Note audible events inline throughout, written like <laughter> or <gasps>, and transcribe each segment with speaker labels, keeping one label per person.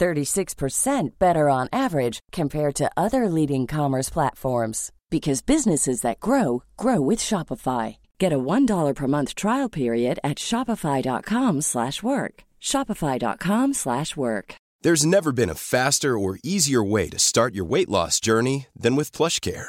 Speaker 1: 36% better on average compared to other leading commerce platforms because businesses that grow grow with Shopify. Get a $1 per month trial period at shopify.com/work. shopify.com/work.
Speaker 2: There's never been a faster or easier way to start your weight loss journey than with PlushCare.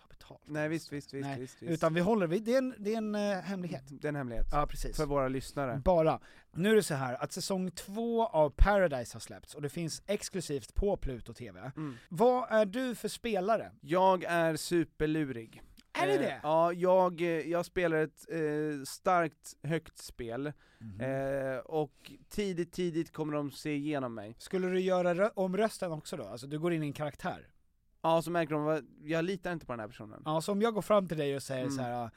Speaker 3: ta betalt.
Speaker 4: Nej visst, visst, visst,
Speaker 3: Nej,
Speaker 4: visst, visst.
Speaker 3: utan vi håller, vi, det är en, det är en eh, hemlighet.
Speaker 4: Det är en hemlighet.
Speaker 3: Ja, precis.
Speaker 4: För våra lyssnare.
Speaker 3: Bara. Nu är det så här att säsong två av Paradise har släppts och det finns exklusivt på Pluto TV.
Speaker 4: Mm.
Speaker 3: Vad är du för spelare?
Speaker 4: Jag är superlurig.
Speaker 3: Är det
Speaker 4: Eh,
Speaker 3: det?
Speaker 4: Ja, jag, eh, jag spelar ett eh, starkt, högt spel,
Speaker 3: Mm.
Speaker 4: eh, och tidigt, tidigt kommer de se igenom mig.
Speaker 3: Skulle du göra rö- om rösten också då? Alltså du går in i en karaktär?
Speaker 4: Ja, så märker de, vad- jag litar inte på den här personen.
Speaker 3: Ja, så om jag går fram till dig och säger
Speaker 4: Mm.
Speaker 3: så här. ah,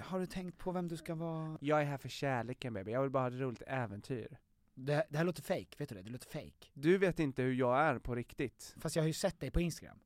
Speaker 3: har du tänkt på vem du ska vara?
Speaker 4: Jag är här för kärleken baby, jag vill bara ha ett roligt äventyr.
Speaker 3: Det, det här låter fake, vet du det? Det låter fake.
Speaker 4: Du vet inte hur jag är på riktigt.
Speaker 3: Fast jag har ju sett dig på Instagram.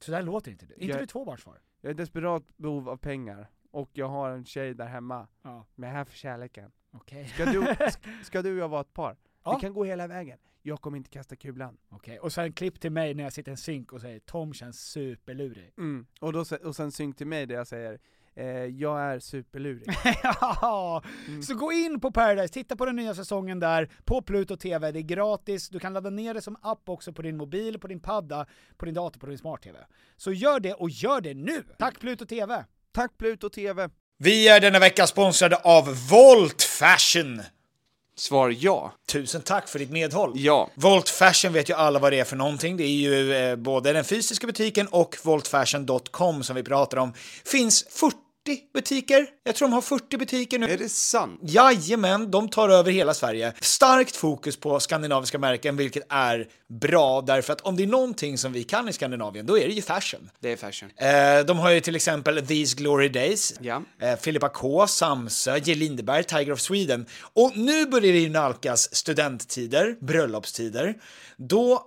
Speaker 3: Så där låter inte du. Är inte
Speaker 4: Jag-
Speaker 3: du tvåbarnsfar?
Speaker 4: Jag är i desperat behov av pengar, och jag har en tjej där hemma,
Speaker 3: Ja,
Speaker 4: men jag är här för kärleken.
Speaker 3: okej.
Speaker 4: Ska du,
Speaker 3: <laughs>
Speaker 4: sk- ska du och jag vara ett par?
Speaker 3: Ja.
Speaker 4: Vi kan gå hela vägen. Jag kommer inte kasta kulan.
Speaker 3: Okej, och sen klipp till mig när jag sitter i en synk och säger Tom känns superlurig.
Speaker 4: Mm. Och, då, se- och sen synk till mig där jag säger, eh, jag är superlurig.
Speaker 3: Mm. <laughs> ja! Så gå in på Paradise, titta på den nya säsongen där, på Pluto TV, det är gratis, du kan ladda ner det som app också på din mobil, på din padda, på din dator, på din smart-TV. Så gör det, och gör det nu! Tack Pluto TV!
Speaker 4: <laughs> Tack Pluto TV!
Speaker 3: Vi är denna vecka sponsrade av Volt Fashion!
Speaker 5: Svar ja.
Speaker 3: Tusen tack för ditt medhåll!
Speaker 5: Ja.
Speaker 3: Volt Fashion vet ju alla vad det är för någonting. Det är ju eh, både den fysiska butiken och voltfashion.com som vi pratar om. Finns 40 butiker. Jag tror de har 40 butiker nu.
Speaker 5: Är det sant?
Speaker 3: Jajamän, de tar över hela Sverige. Starkt fokus på skandinaviska märken, vilket är bra därför att om det är någonting som vi kan i Skandinavien, då är det ju fashion.
Speaker 5: Det är fashion.
Speaker 3: Eh, De har ju till exempel These Glory Days,
Speaker 5: Ja.
Speaker 3: eh, Filippa K, Samsö, J. Lindeberg, Tiger of Sweden. Och nu börjar det ju nalkas studenttider, bröllopstider. Då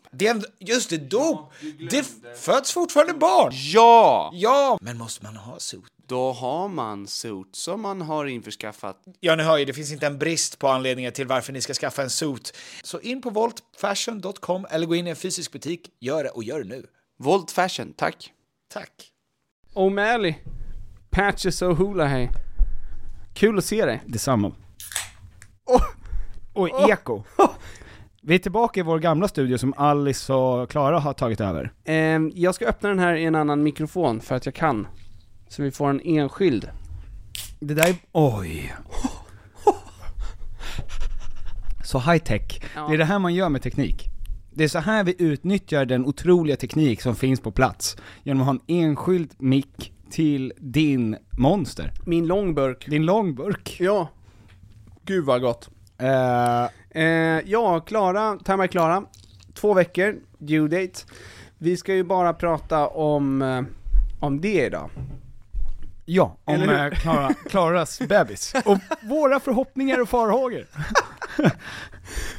Speaker 3: Det är en, just det, dop! det f- föds fortfarande barn!
Speaker 5: Ja!
Speaker 3: Ja! Men måste man ha suits?
Speaker 5: Då har man suits som man har införskaffat.
Speaker 3: Ja, ni hör ju, det finns inte en brist på anledningar till varför ni ska skaffa en suit. Så in på voltfashion.com eller gå in i en fysisk butik. Gör det och gör det nu.
Speaker 5: Volt fashion, tack.
Speaker 3: Tack!
Speaker 6: O'Malley, Patches och Hulahay. Kul att se dig.
Speaker 7: Detsamma.
Speaker 6: Åh!
Speaker 7: Oj, eko. Vi är tillbaka i vår gamla studio som Alice och Klara har tagit över.
Speaker 6: Ehm, jag ska öppna den här i en annan mikrofon för att jag kan. Så vi får en enskild.
Speaker 7: Det där är... Oj. Så high tech.
Speaker 6: Ja.
Speaker 7: Det är det här man gör med teknik. Det är så här vi utnyttjar den otroliga teknik som finns på plats. Genom att ha en enskild mick till din monster.
Speaker 6: Min långburk.
Speaker 7: Din långburk.
Speaker 6: Ja. Gud vad gott.
Speaker 7: Eh,
Speaker 6: Eh, ja, Klara, Time är Klara. Två veckor, due date. Vi ska ju bara prata om, eh, om det idag.
Speaker 7: ja, om
Speaker 6: Eller hur?
Speaker 7: eh, Klara,
Speaker 6: <laughs>
Speaker 7: Klaras bebis. Och våra förhoppningar och farhågor.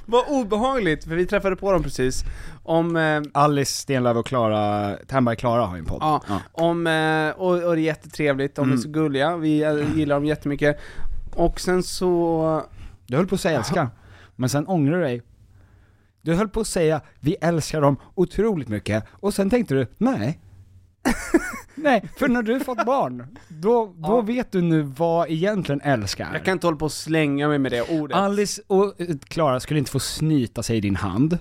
Speaker 6: Vad obehagligt, för vi träffade på dem precis. Om, eh,
Speaker 7: Alice Stenlöf och Klara, Tandberg Klara har ju en podd.
Speaker 6: ja, om, eh, och, och det är jättetrevligt,
Speaker 7: Mm.
Speaker 6: de är så gulliga, vi eh, gillar dem jättemycket. Och sen så,
Speaker 7: Du höll på att säga älska, men sen ångrar du dig. Du höll på att säga vi älskar dem otroligt mycket, och sen tänkte du <laughs> nej. nej, för när du fått barn, då, då
Speaker 6: Ja.
Speaker 7: vet du nu vad egentligen älska är.
Speaker 6: jag kan inte hålla på och slänga mig med det ordet.
Speaker 7: Alice och eh, Klara skulle inte få snyta sig i din hand.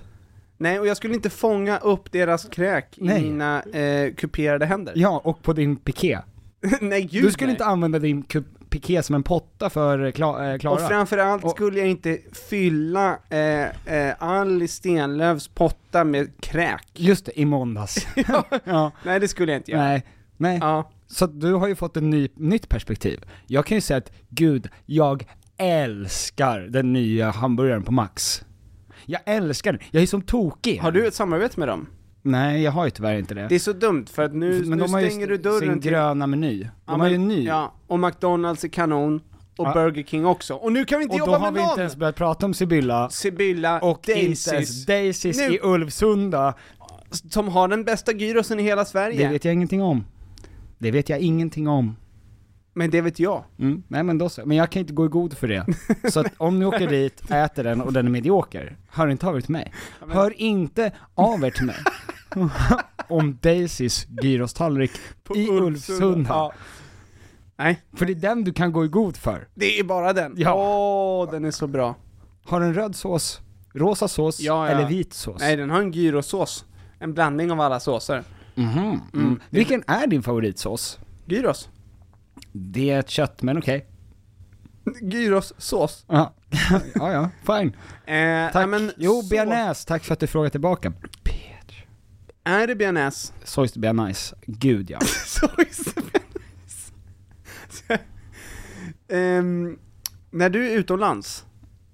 Speaker 6: Nej, och jag skulle inte fånga upp deras kräk
Speaker 7: Nej.
Speaker 6: i mina eh, kuperade händer.
Speaker 7: Ja, och på din piké.
Speaker 6: <laughs> nej, gud
Speaker 7: Du skulle
Speaker 6: nej.
Speaker 7: inte använda din kup- piké som en potta för eh, Kla- eh, Klara.
Speaker 6: Och framförallt
Speaker 7: Och-
Speaker 6: skulle jag inte fylla eh, eh, Alice Stenlöfs potta med kräk.
Speaker 7: Just det,
Speaker 6: <laughs>
Speaker 7: i måndags. <laughs> ja.
Speaker 6: Nej, det skulle jag inte göra.
Speaker 7: Nej, nej.
Speaker 6: Ja.
Speaker 7: Så att du har ju fått ett ny, nytt perspektiv. Jag kan ju säga att gud, jag älskar den nya hamburgaren på Max. Jag älskar den, jag är som tokig.
Speaker 6: Har du ett samarbete med dem?
Speaker 7: Nej, jag har ju tyvärr inte det.
Speaker 6: Det är så dumt, för att nu, nu
Speaker 7: ju
Speaker 6: stänger du
Speaker 7: sin
Speaker 6: dörren till...
Speaker 7: gröna meny. De
Speaker 6: Ja,
Speaker 7: har ju
Speaker 6: men-
Speaker 7: en ny.
Speaker 6: Ja, och McDonalds är kanon, och
Speaker 7: Ja.
Speaker 6: Burger King också. Och nu kan vi inte
Speaker 7: Och då
Speaker 6: jobba
Speaker 7: har
Speaker 6: med
Speaker 7: vi
Speaker 6: någon!
Speaker 7: inte ens börjat prata om Sibylla
Speaker 6: Sibylla
Speaker 7: och
Speaker 6: Daisys,
Speaker 7: inte ens Daisys
Speaker 6: Nu-
Speaker 7: i Ulvsunda.
Speaker 6: som har den bästa gyrosen i hela
Speaker 7: Det
Speaker 6: Sverige.
Speaker 7: vet jag ingenting om. Det vet jag ingenting om.
Speaker 6: Men det vet jag.
Speaker 7: Mm. Nej men då så, men jag kan inte gå i god
Speaker 6: <laughs>
Speaker 7: för det. Så att om ni åker dit, äter den och den är medioker, hör inte av er till mig. Hör inte av er
Speaker 6: <laughs>
Speaker 7: till mig. om Daisys gyrostallrik i Ulvsunda.
Speaker 6: Ja. Nej,
Speaker 7: För det är den du kan gå i god för.
Speaker 6: det är bara den.
Speaker 7: Ja.
Speaker 6: Åh, den är så bra.
Speaker 7: Har den röd sås, rosa sås
Speaker 6: Ja, ja.
Speaker 7: eller vit sås?
Speaker 6: Nej, den har en gyrosås. En blandning av alla såser.
Speaker 7: Mhm. Mm. Vilken är din favoritsås?
Speaker 6: Gyros.
Speaker 7: Det är ett kött, men okej.
Speaker 6: Gyrossås.
Speaker 7: Ja. <laughs> ja, ja, fine.
Speaker 6: Eh,
Speaker 7: Tack.
Speaker 6: ja, men
Speaker 7: jo,
Speaker 6: sås.
Speaker 7: bearnaise, tack för att du frågade tillbaka. Peter.
Speaker 6: Är det bearnaise?
Speaker 7: Sojs bearnaise,
Speaker 6: <laughs>
Speaker 7: gud ja.
Speaker 6: Sojs bearnaise. Ehm, när du är utomlands,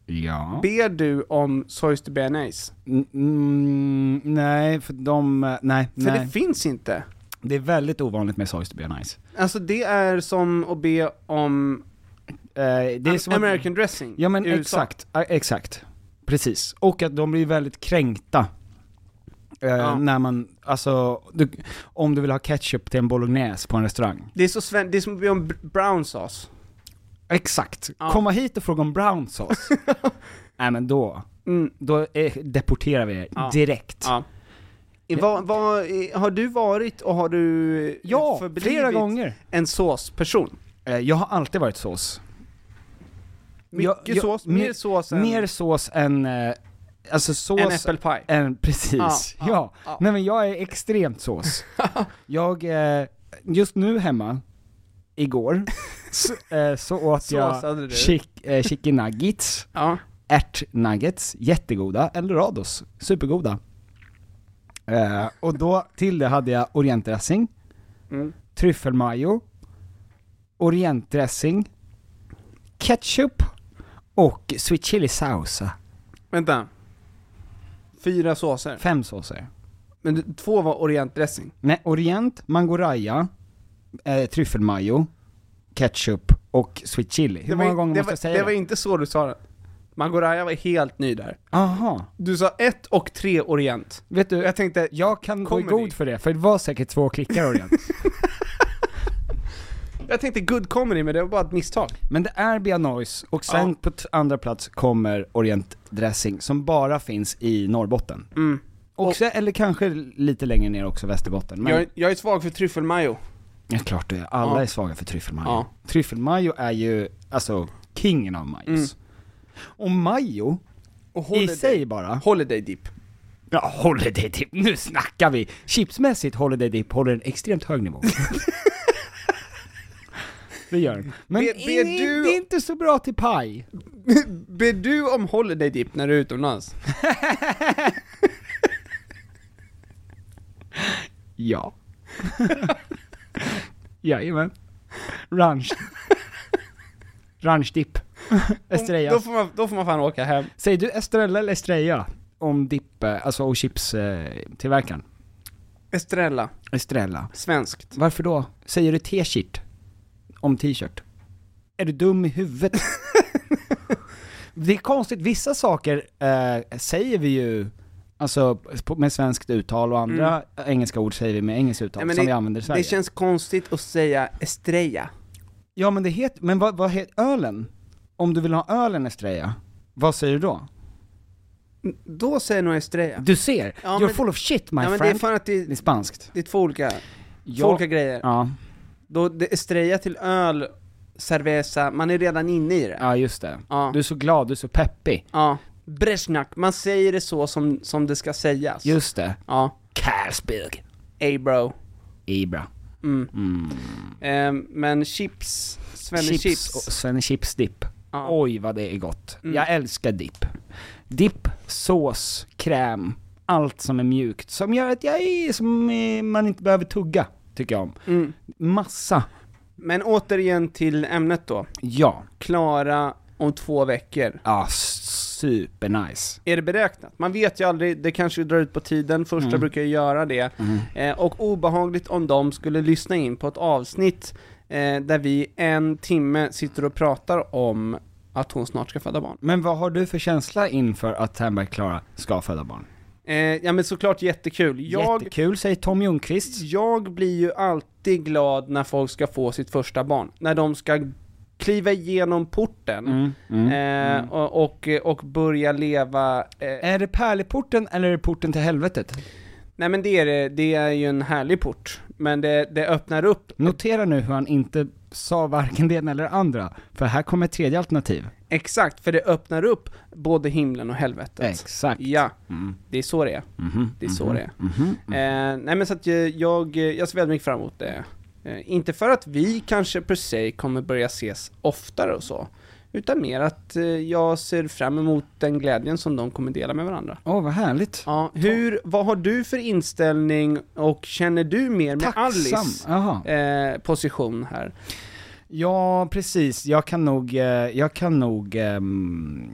Speaker 7: Ja.
Speaker 6: ber du om sojs till bearnaise?
Speaker 7: Mm, nej, för de, eh, nej,
Speaker 6: För
Speaker 7: nej.
Speaker 6: det finns inte.
Speaker 7: det är väldigt ovanligt med sojs to be nice.
Speaker 6: Alltså det är som att be om
Speaker 7: Eh, det är som att,
Speaker 6: American dressing
Speaker 7: Ja men
Speaker 6: i USA.
Speaker 7: exakt, eh, exakt. Precis. Och att de blir väldigt kränkta. Eh,
Speaker 6: Ja.
Speaker 7: När man, alltså, du, om du vill ha ketchup till en bolognese på en restaurang.
Speaker 6: Det är, så sven- det är som att be om br- brown sauce.
Speaker 7: Exakt.
Speaker 6: Ja.
Speaker 7: Komma hit och fråga om brown sauce.
Speaker 6: <laughs>
Speaker 7: nej men då,
Speaker 6: Mm.
Speaker 7: då eh, deporterar vi er
Speaker 6: Ja.
Speaker 7: direkt.
Speaker 6: Ja. Vad- vad- eh, har du varit och har du eh,
Speaker 7: Ja,
Speaker 6: förblivit
Speaker 7: flera gånger.
Speaker 6: en såsperson?
Speaker 7: Eh, jag har alltid varit sås.
Speaker 6: Mycket
Speaker 7: Jag- jag-
Speaker 6: sås,
Speaker 7: mer-
Speaker 6: mer, sås än
Speaker 7: Mer sås än, eh, alltså sås
Speaker 6: en äppelpaj.
Speaker 7: än precis,
Speaker 6: Ja,
Speaker 7: <laughs> ja.
Speaker 6: ja, ja.
Speaker 7: Nej men jag är
Speaker 6: <laughs>
Speaker 7: extremt sås. jag, eh, just nu hemma, igår, så, eh, så
Speaker 6: <laughs>
Speaker 7: åt
Speaker 6: Såsade du?
Speaker 7: jag chick, eh, chicken nuggets,
Speaker 6: <laughs> Ja.
Speaker 7: ärtnuggets, jättegoda, eldorados, supergoda. Eh, och då till det hade jag orientdressing,
Speaker 6: Mm.
Speaker 7: tryffelmajo, orientdressing, ketchup och sweet chili sauce.
Speaker 6: Vänta. Fyra såser.
Speaker 7: Fem såser.
Speaker 6: Men du- två var orientdressing.
Speaker 7: Nej, orient, mangoraja, eh, tryffelmajo, ketchup och sweet chili. Hur
Speaker 6: Det var
Speaker 7: många
Speaker 6: in-
Speaker 7: gånger
Speaker 6: det
Speaker 7: måste
Speaker 6: var,
Speaker 7: jag säga
Speaker 6: det?
Speaker 7: det?
Speaker 6: var inte så du sa det. Mangoraja var helt ny där.
Speaker 7: Aha.
Speaker 6: Du sa ett och tre orient.
Speaker 7: Vet du,
Speaker 6: Jag tänkte,
Speaker 7: jag kan gå i
Speaker 6: Comedy.
Speaker 7: god för det, för det var säkert två klickar orient.
Speaker 6: jag tänkte good comedy men det var bara ett misstag.
Speaker 7: Men det är bearnaise, och sen
Speaker 6: Ja.
Speaker 7: på t- andra plats kommer orientdressing, som bara finns i Norrbotten.
Speaker 6: Mm.
Speaker 7: Och, så- eller kanske lite längre ner också, Västerbotten. Men,
Speaker 6: Jag, jag är svag för tryffelmajo.
Speaker 7: ja, klart det är. Alla
Speaker 6: Ja.
Speaker 7: är svaga för tryffelmajo.
Speaker 6: Ja.
Speaker 7: Tryffelmajo är ju, alltså, kingen av majos. Och majo,
Speaker 6: Och
Speaker 7: I
Speaker 6: Mm. holiday,
Speaker 7: sig bara.
Speaker 6: holiday dip. <laughs>
Speaker 7: Ja, Holiday Dip, nu snackar vi! Chipsmässigt Holiday Dip håller en extremt
Speaker 6: <laughs>
Speaker 7: hög nivå. det gör den. Men
Speaker 6: Ber- ber
Speaker 7: det-
Speaker 6: du-
Speaker 7: det är inte så bra till paj.
Speaker 6: Ber du om holiday dip när du är utomlands?
Speaker 7: Ja. Jajamän. Ranch. Ranchdipp. Estrella.
Speaker 6: Då får, man, då får man fan åka hem.
Speaker 7: Säger du Estrella eller Estrella? Om dipp, eh, alltså och chips eh, tillverkaren.
Speaker 6: Estrella,
Speaker 7: Estrella.
Speaker 6: svenskt.
Speaker 7: Varför då? Säger du t-shirt? Om t-shirt? Är du dum
Speaker 6: <laughs>
Speaker 7: i huvudet? det är konstigt, vissa saker eh, säger vi ju Alltså på- med svenskt uttal och andra engelska ord säger vi med engelskt uttal
Speaker 6: Mm. Nej, men
Speaker 7: som
Speaker 6: det-
Speaker 7: vi använder i Sverige.
Speaker 6: Det känns konstigt att säga Estrella.
Speaker 7: Ja men det heter, men vad, vad heter ölen? Om du vill ha ölen Estrella, vad säger du då?
Speaker 6: Då säger nog Estrella.
Speaker 7: Du ser,
Speaker 6: Ja,
Speaker 7: you're
Speaker 6: men-
Speaker 7: full of shit my
Speaker 6: ja, men det är
Speaker 7: friend. Det är,
Speaker 6: fan att det,
Speaker 7: spanskt.
Speaker 6: det är två olika,
Speaker 7: Ja.
Speaker 6: två olika grejer.
Speaker 7: Ja,
Speaker 6: Då, det, Estrella till öl, cerveza, man är redan inne i det.
Speaker 7: ja just det.
Speaker 6: Ja.
Speaker 7: Du är så glad, du är så peppig.
Speaker 6: Ja. Bresnak, man säger det så som, som det ska sägas.
Speaker 7: Just det.
Speaker 6: Ja.
Speaker 7: Carlsberg.
Speaker 6: Ey bro.
Speaker 7: Ibra.
Speaker 6: Mm.
Speaker 7: Mm.
Speaker 6: Ehm, men chips, Svenne
Speaker 7: Chips,
Speaker 6: chips.
Speaker 7: och Svenne chips dipp.
Speaker 6: Ja. Mm.
Speaker 7: Oj vad det är gott. Jag älskar dipp. Dipp, sås, kräm, allt som är mjukt. Som gör att jag är, som eh, man inte behöver tugga, tycker jag om.
Speaker 6: Mm.
Speaker 7: Massa.
Speaker 6: Men återigen till ämnet då.
Speaker 7: Ja.
Speaker 6: Klara om två veckor.
Speaker 7: Ja, supernice.
Speaker 6: Är det beräknat? Man vet ju aldrig, det kanske drar ut på tiden, första brukar ju göra det. Eh, och obehagligt om de skulle lyssna in på ett avsnitt eh, där vi en timme sitter och pratar om att hon snart ska föda barn.
Speaker 7: Men vad har du för känsla inför att Ternberg Klara ska föda barn?
Speaker 6: Eh, ja men såklart jättekul. Jag,
Speaker 7: Jättekul, säger Tom Ljungqvist.
Speaker 6: jag blir ju alltid glad när folk ska få sitt första barn. När de ska kliva igenom porten eh, Och, och, och börja leva... Eh,
Speaker 7: Är det pärleporten eller är det porten till helvetet?
Speaker 6: Nej men det är det, det är ju en härlig port. Men det, det öppnar upp,
Speaker 7: Notera nu hur han inte sa varken det ena eller det andra, för här kommer ett tredje alternativ.
Speaker 6: exakt, för det öppnar upp både himlen och helvetet.
Speaker 7: Exakt. Mm. Mm-hmm.
Speaker 6: Ja, det är så det är. Det är så det är. Eh, nej men så att jag, jag, eh, jag ser väldigt mycket fram emot det. Eh, inte för att vi kanske per se kommer börja ses oftare och så. Utan mer att eh, jag ser fram emot den glädjen som de kommer dela med varandra.
Speaker 7: Åh, vad härligt.
Speaker 6: Ja, hur, vad har du för inställning och känner du mer med
Speaker 7: Tacksam.
Speaker 6: Alice
Speaker 7: Jaha.
Speaker 6: eh, position här?
Speaker 7: Ja, precis. Jag kan nog, eh, jag kan nog ehm,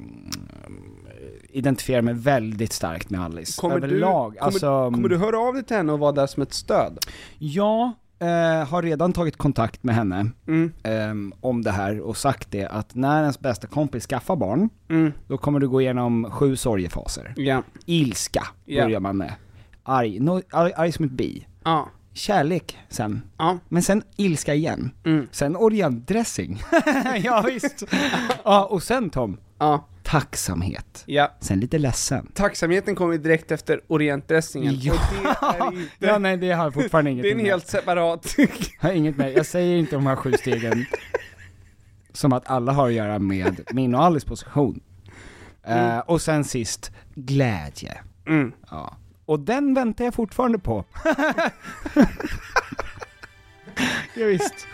Speaker 7: identifiera mig väldigt starkt med Alice. Överlag.
Speaker 6: Du, kommer,
Speaker 7: alltså,
Speaker 6: kommer du höra av dig till henne och vara där som ett stöd?
Speaker 7: Jag eh, har redan tagit kontakt med henne
Speaker 6: Mm.
Speaker 7: ehm, om det här och sagt det att när ens bästa kompis skaffar barn,
Speaker 6: Mm.
Speaker 7: då kommer du gå igenom sju sorgefaser.
Speaker 6: Ja.
Speaker 7: Ilska
Speaker 6: Ja.
Speaker 7: börjar man med. Arg, no, arg, arg som ett bi.
Speaker 6: Ja.
Speaker 7: Kärlek sen.
Speaker 6: Ja.
Speaker 7: Men sen ilska igen.
Speaker 6: Mm. <laughs>
Speaker 7: Sen orientdressing. ja, visst. ja, och sen Tom,
Speaker 6: Ja.
Speaker 7: tacksamhet.
Speaker 6: ja.
Speaker 7: Sen lite ledsen.
Speaker 6: Tacksamheten kommer ju direkt efter orientdressingen.
Speaker 7: Ja.
Speaker 6: Och det är
Speaker 7: <laughs>
Speaker 6: inte...
Speaker 7: Ja, nej det har jag fortfarande
Speaker 6: <laughs>
Speaker 7: inget
Speaker 6: det är en helt separat... <laughs>
Speaker 7: Jag har inget med, jag säger inte de här sju stegen som att alla har att göra med min och Alice position. Eh, och sen sist, glädje.
Speaker 6: Mm.
Speaker 7: Ja. Och den väntar jag
Speaker 6: <laughs>
Speaker 7: fortfarande på. ja, visst.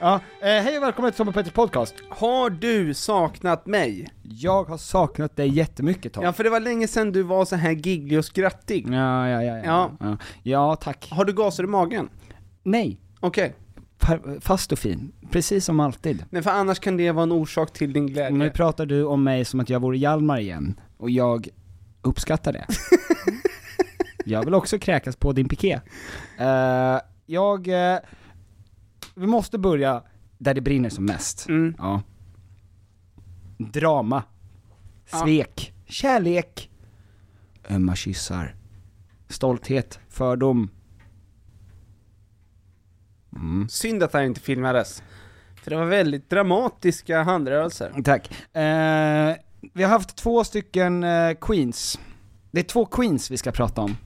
Speaker 7: Ja, eh, hej och välkommen till Sommarpetters podcast.
Speaker 6: Har du saknat mig?
Speaker 7: Jag har saknat dig jättemycket Tom.
Speaker 6: Ja, för det var länge sedan du var så här gigglig och skrattig.
Speaker 7: Ja, ja, ja, ja.
Speaker 6: Ja.
Speaker 7: Ja, ja tack.
Speaker 6: Har du gaser i magen?
Speaker 7: Nej,
Speaker 6: Okej.
Speaker 7: Per- fast och fin. Precis som alltid.
Speaker 6: Nej, för annars kan det vara en orsak till din glädje.
Speaker 7: Nu pratar du om mig som att jag vore Hjalmar igen, och jag uppskattar det. jag vill också kräkas på din piké. Eh, jag... eh, vi måste börja där det brinner som mest.
Speaker 6: Mm.
Speaker 7: Ja. Drama. Svek. Kärlek. Ömma kyssar. Stolthet. Fördom.
Speaker 6: Synd att det här inte filmades. För det var väldigt dramatiska handrörelser.
Speaker 7: Tack. Eh, vi har haft två stycken eh, queens. Det är två queens vi ska prata om.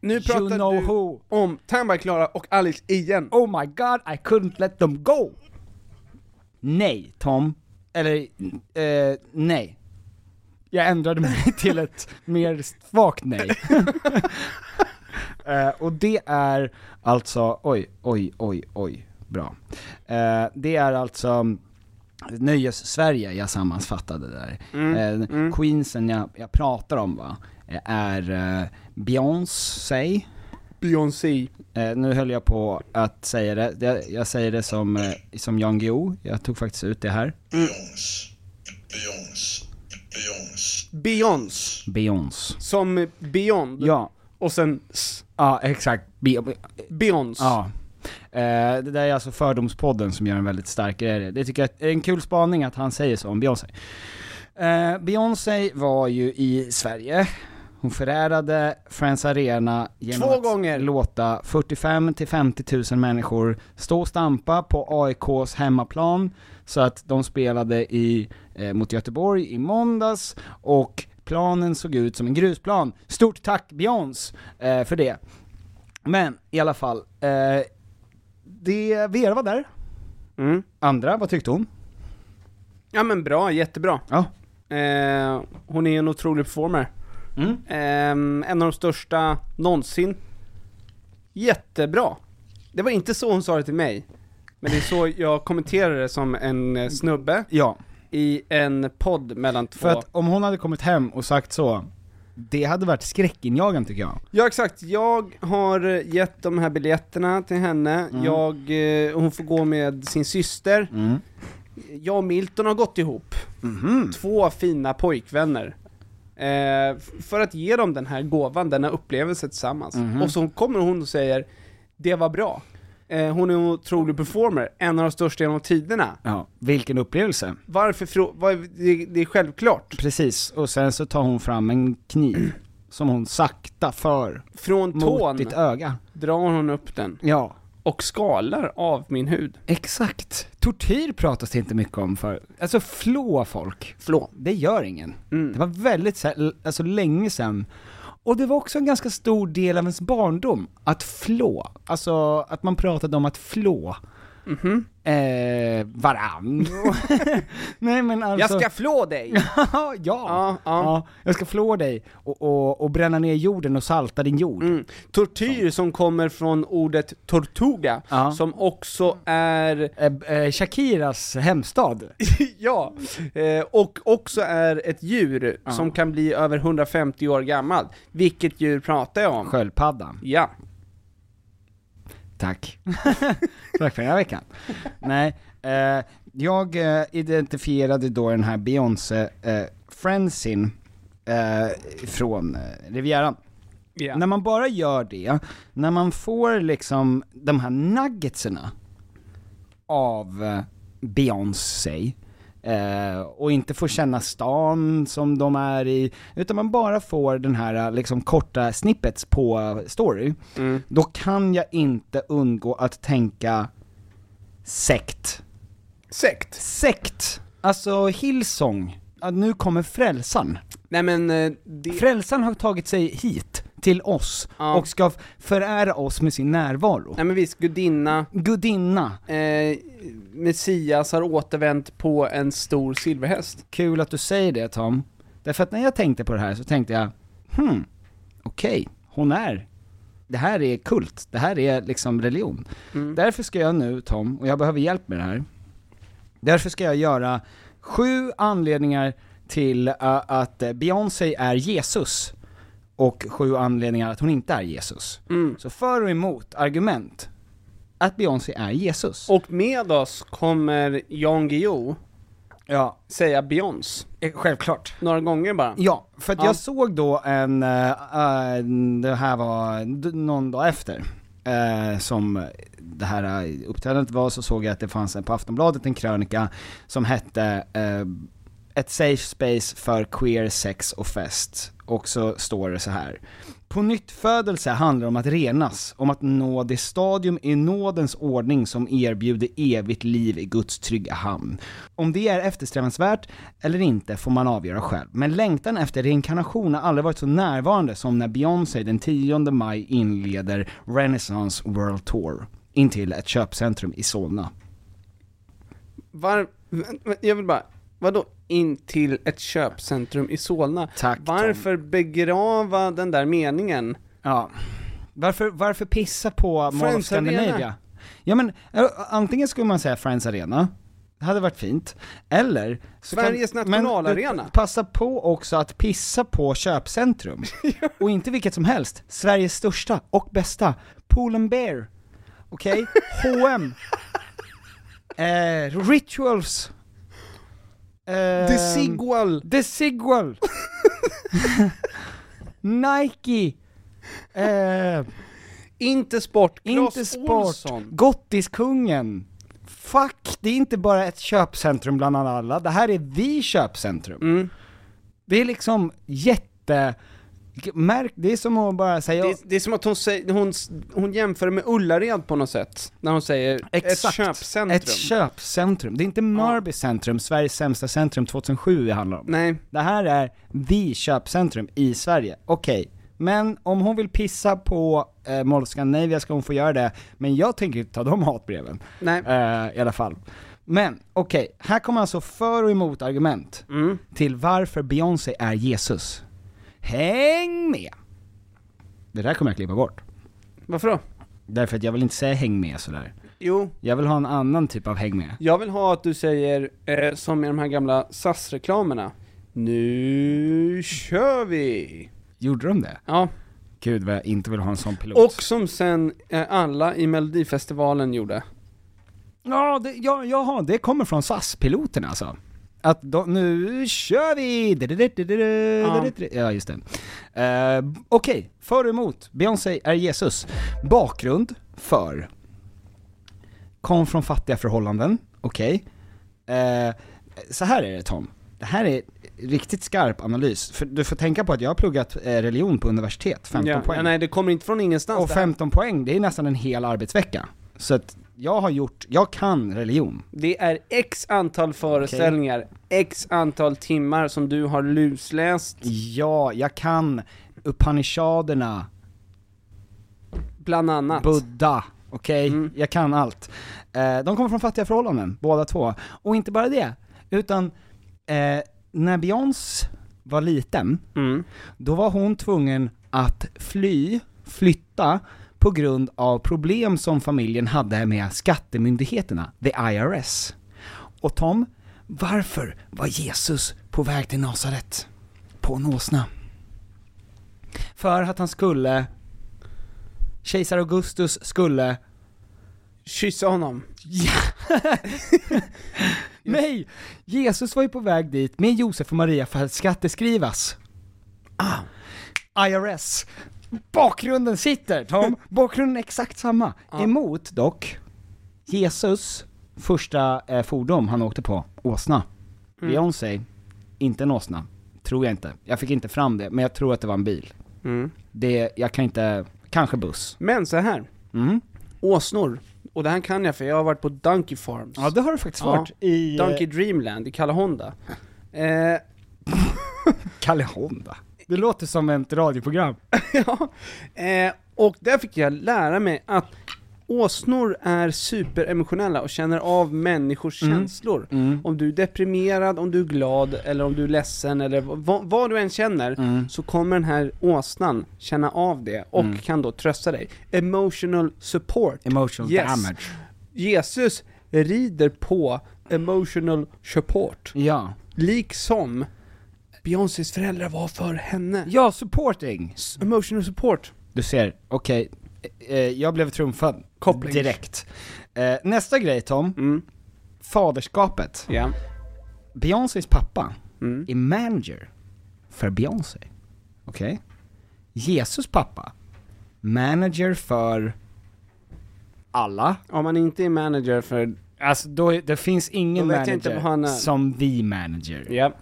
Speaker 6: Nu pratar
Speaker 7: you know
Speaker 6: du
Speaker 7: who.
Speaker 6: om Tandberg, Klara och
Speaker 7: Mm.
Speaker 6: Alice igen.
Speaker 7: Oh my god, I couldn't let them go! Nej, Tom. eller eh, nej. Jag ändrade mig <laughs> till ett mer svagt <laughs> nej. eh, och det är alltså, oj, oj, oj, oj, bra. Eh, det är alltså Nöjes-Sverige jag sammanfattade där. eh, Queensen jag, jag pratar om va, eh, är eh, Beyoncé,
Speaker 6: Beyoncé.
Speaker 7: Eh, nu höll jag på att säga det, jag, jag säger det som, eh, som Jan Guillou, jag tog faktiskt ut det här.
Speaker 6: Beyoncé.
Speaker 7: Beyoncé.
Speaker 6: Som Beyond.
Speaker 7: Ja,
Speaker 6: Och sen s.
Speaker 7: ja exakt. Be- be-
Speaker 6: Beyoncé.
Speaker 7: ja. Eh, det där är alltså Fördomspodden som gör en väldigt stark grej. Det tycker jag är en kul spaning att han säger så om Beyoncé. Eh, Beyoncé var ju i Sverige, hon förärade Friends Arena genom
Speaker 6: Två
Speaker 7: att
Speaker 6: gånger.
Speaker 7: låta 45 till 50 000 människor stå och stampa på AIKs hemmaplan. Så att de spelade i, eh, mot Göteborg i måndags och planen såg ut som en grusplan. Stort tack Beyoncé eh, för det. Men i alla fall, eh, det, Vera var där.
Speaker 6: Mm.
Speaker 7: Andra, vad tyckte hon?
Speaker 6: Ja men bra, jättebra.
Speaker 7: Ja.
Speaker 6: Eh, hon är en otrolig performer.
Speaker 7: Mm.
Speaker 6: Ehm, en av de största någonsin. Jättebra. Det var inte så hon sa det till mig. Men det är så jag kommenterade det som en eh, snubbe
Speaker 7: Ja.
Speaker 6: i en podd mellan två.
Speaker 7: För att om hon hade kommit hem och sagt så, det hade varit skräckinjagande tycker jag.
Speaker 6: Ja exakt, jag har eh, gett de här biljetterna till henne,
Speaker 7: Mm.
Speaker 6: jag, eh, hon får gå med sin syster. Jag och Milton har gått ihop.
Speaker 7: Mhm.
Speaker 6: Två fina pojkvänner. Eh, f- för att ge dem den här gåvan, denna upplevelse tillsammans.
Speaker 7: Mhm.
Speaker 6: Och så kommer hon och säger, det var bra. Eh, hon är en otrolig performer, en av de största genom tiderna.
Speaker 7: Ja, vilken upplevelse.
Speaker 6: Varför frå- vad, det, det är självklart.
Speaker 7: Precis, och sen så tar hon fram en kniv <clears throat> som hon sakta för
Speaker 6: Från
Speaker 7: mot
Speaker 6: tån
Speaker 7: ditt öga.
Speaker 6: drar hon upp den
Speaker 7: Ja,
Speaker 6: och skalar av min hud.
Speaker 7: exakt. Tortyr pratas det inte mycket om för. Alltså flå folk. Flå. Det gör ingen.
Speaker 6: Mm.
Speaker 7: Det var väldigt så här, alltså länge sedan. Och det var också en ganska stor del av ens barndom, att flå. Alltså att man pratade om att flå.
Speaker 6: Mm-hmm.
Speaker 7: Eh,
Speaker 6: <laughs>
Speaker 7: varann. Nej men alltså...
Speaker 6: Jag ska flå dig!
Speaker 7: <laughs> ja, ja.
Speaker 6: Ja, ja.
Speaker 7: Jag ska flå dig och, och, och bränna ner jorden och salta din jord.
Speaker 6: <laughs> Mm. Tortyr som kommer från ordet tortuga,
Speaker 7: Ja.
Speaker 6: som också är, <laughs>
Speaker 7: Eh, eh, Shakiras hemstad.
Speaker 6: ja, eh, och också är ett djur som kan bli över 150 år gammalt. Vilket djur pratar jag om?
Speaker 7: Sköldpaddan.
Speaker 6: Ja.
Speaker 7: Tack. <laughs> Tack för den här veckan. Nej, eh, jag eh, identifierade då den här Beyoncé eh, Friendsin eh, från eh, Rivieran.
Speaker 6: Ja.
Speaker 7: När man bara gör det, när man får liksom de här nuggetserna av eh, Beyoncé, eh, och inte får känna stan som de är i, utan man bara får den här eh, liksom korta snippets på eh, story, då kan jag inte undgå att tänka sekt.
Speaker 6: Sekt.
Speaker 7: Sekt! Alltså Hillsong, Ja, nu kommer frälsaren.
Speaker 6: Nej men, eh, det,
Speaker 7: Frälsaren har tagit sig hit, till oss,
Speaker 6: Ja.
Speaker 7: och ska f- förära oss med sin närvaro.
Speaker 6: nej men visst, gudinna,
Speaker 7: Gudinna,
Speaker 6: eh, Messias har återvänt på en stor silverhäst.
Speaker 7: kul att du säger det Tom. Därför att när jag tänkte på det här så tänkte jag, hmm, okej, hon är, det här är kult, det här är liksom religion. Därför ska jag nu Tom, och jag behöver hjälp med det här, därför ska jag göra sju anledningar till eh, att eh, Beyoncé är Jesus. Och sju anledningar att hon inte är Jesus. Så för och emot argument att Beyoncé är Jesus.
Speaker 6: Och med oss kommer Jan Guillou
Speaker 7: ja,
Speaker 6: säga Beyoncé,
Speaker 7: eh, självklart.
Speaker 6: några gånger bara.
Speaker 7: Ja, för att
Speaker 6: Ja.
Speaker 7: jag såg då en, eh, eh, det här var d- någon dag efter, eh, som det här eh, uppträdandet var, så såg jag att det fanns en, på Aftonbladet en krönika som hette eh, Ett safe space för queer sex och fest, och så står det så här. På nytt födelse handlar om att renas, om att nå det stadium i nådens ordning som erbjuder evigt liv i Guds trygga hamn. Om det är eftersträvansvärt eller inte får man avgöra själv, men längtan efter reinkarnation har aldrig varit så närvarande som när Beyoncé den 10 maj inleder Renaissance World Tour in till ett köpcentrum i Solna.
Speaker 6: Var, jag vill bara, Vadå in till ett köpcentrum i Solna?
Speaker 7: Tack, Tom.
Speaker 6: Varför begrava den där meningen?
Speaker 7: Ja. Varför, varför pissa på Mall of
Speaker 6: Friends Arena.
Speaker 7: Scandinavia? Ja men, ä- antingen skulle man säga Friends Arena, det hade varit fint, eller... så
Speaker 6: Sveriges nationalarena.
Speaker 7: Men, passa på också att pissa
Speaker 6: <laughs>
Speaker 7: på köpcentrum. Och inte vilket som helst, Sveriges största och bästa, Pool and Bear. Okej?
Speaker 6: <laughs>
Speaker 7: H&M eh, Rituals. Eh,
Speaker 6: The Sigwall! <laughs>
Speaker 7: The Sigwall! Nike! Eh,
Speaker 6: Inte sport, Claes
Speaker 7: inte sport.
Speaker 6: Olsson.
Speaker 7: Gottiskungen. Fuck, det är inte bara ett köpcentrum bland alla, det här är vi köpcentrum.
Speaker 6: Mm.
Speaker 7: Det är liksom jätte... Märk, det är som att bara säga...
Speaker 6: Det, det är som att hon, säger, hon, hon jämför med Ullared på något sätt, när hon säger ett köpcentrum.
Speaker 7: Ett köpcentrum. Det är inte Mörby centrum, Sveriges sämsta centrum 2007 det handlar om.
Speaker 6: Nej,
Speaker 7: Det här är the köpcentrum i Sverige. Okej, men om hon vill pissa på eh, Mall of Scandinavia ska hon få göra det, men jag tänker inte ta de hatbreven.
Speaker 6: nej.
Speaker 7: Eh, I alla fall. Men okej, här kommer alltså för och emot argument
Speaker 6: Mm.
Speaker 7: till varför Beyoncé är Jesus. Häng med! Det där kommer jag klippa bort.
Speaker 6: Varför då?
Speaker 7: Därför att jag vill inte säga häng med sådär.
Speaker 6: Jo,
Speaker 7: Jag vill ha en annan typ av häng med.
Speaker 6: jag vill ha att du säger, eh, som i de här gamla SAS-reklamerna, nu kör vi!
Speaker 7: Gjorde de det?
Speaker 6: Ja,
Speaker 7: Gud vad jag inte vill ha en sån pilot.
Speaker 6: och som sen eh, alla i Melodifestivalen gjorde.
Speaker 7: Ja, det, ja, jaha, det kommer från SAS-piloten alltså. Att de, nu kör vi! Ja, ja just det. Eh, Okej, för och emot. Beyoncé är Jesus. Bakgrund för. Kom från fattiga förhållanden, okej. Eh, så här är det Tom. Det här är riktigt skarp analys. För du får tänka på att jag har pluggat eh, religion på universitet, 15
Speaker 6: ja,
Speaker 7: poäng.
Speaker 6: ja, nej, det kommer inte från ingenstans
Speaker 7: och
Speaker 6: det här.
Speaker 7: 15 poäng, det är nästan en hel arbetsvecka. Så att jag har gjort, jag kan religion.
Speaker 6: Det är x antal föreställningar, x antal timmar som du har lusläst,
Speaker 7: Ja, jag kan Upanishaderna,
Speaker 6: bland annat.
Speaker 7: Buddha, okej? Jag kan allt. Eh, de kommer från fattiga förhållanden, båda två. Och inte bara det, utan eh, när Beyoncé var liten,
Speaker 6: Mm.
Speaker 7: då var hon tvungen att fly, flytta, på grund av problem som familjen hade med skattemyndigheterna, the IRS. Och Tom, varför var Jesus på väg till Nasaret? På en åsna? För att han skulle, kejsar Augustus skulle
Speaker 6: Kyssa honom.
Speaker 7: Nej! Jesus var ju på väg dit med Josef och Maria för att skatteskrivas. Ah. IRS. Bakgrunden sitter <laughs> Tom, bakgrunden är exakt samma. Emot dock, Jesus första eh, fordon han åkte på, åsna. Mm. Beyoncé, inte en åsna. Tror jag inte. Jag fick inte fram det, men jag tror att det var en bil. Mm. Det, jag kan inte, kanske buss.
Speaker 6: Men så här.
Speaker 7: Mm.
Speaker 6: Åsnor. Och det här kan jag för jag har varit på Donkey Farms.
Speaker 7: Ja det har du faktiskt varit i eh,
Speaker 6: Donkey Dreamland i
Speaker 7: <laughs>
Speaker 6: Kallahonda. Eh,
Speaker 7: Kalle Honda. Det låter som ett radioprogram.
Speaker 6: <laughs> ja. eh, och där fick jag lära mig att åsnor är superemotionella och känner av människors
Speaker 7: Mm.
Speaker 6: känslor. Om du är deprimerad, om du är glad, eller om du är ledsen, eller vad, vad du än känner,
Speaker 7: Mm.
Speaker 6: så kommer den här åsnan känna av det och kan då trösta dig. Emotional support.
Speaker 7: Emotional
Speaker 6: Yes.
Speaker 7: damage.
Speaker 6: Jesus rider på emotional support,
Speaker 7: Ja.
Speaker 6: liksom Beyoncés föräldrar var för henne.
Speaker 7: Ja, supporting!
Speaker 6: Emotional support.
Speaker 7: Du ser, okej, eh, eh, jag blev trumfad
Speaker 6: Koppling.
Speaker 7: direkt. Eh, nästa grej Tom,
Speaker 6: Mm.
Speaker 7: faderskapet.
Speaker 6: Ja.
Speaker 7: Beyoncés pappa
Speaker 6: Mm.
Speaker 7: är manager för Beyoncé. Okej? Jesus pappa, manager för alla.
Speaker 6: Om man inte är manager för...
Speaker 7: Alltså då, är- det finns ingen
Speaker 6: Då vet jag inte
Speaker 7: manager
Speaker 6: vad han är.
Speaker 7: som the manager.
Speaker 6: Ja.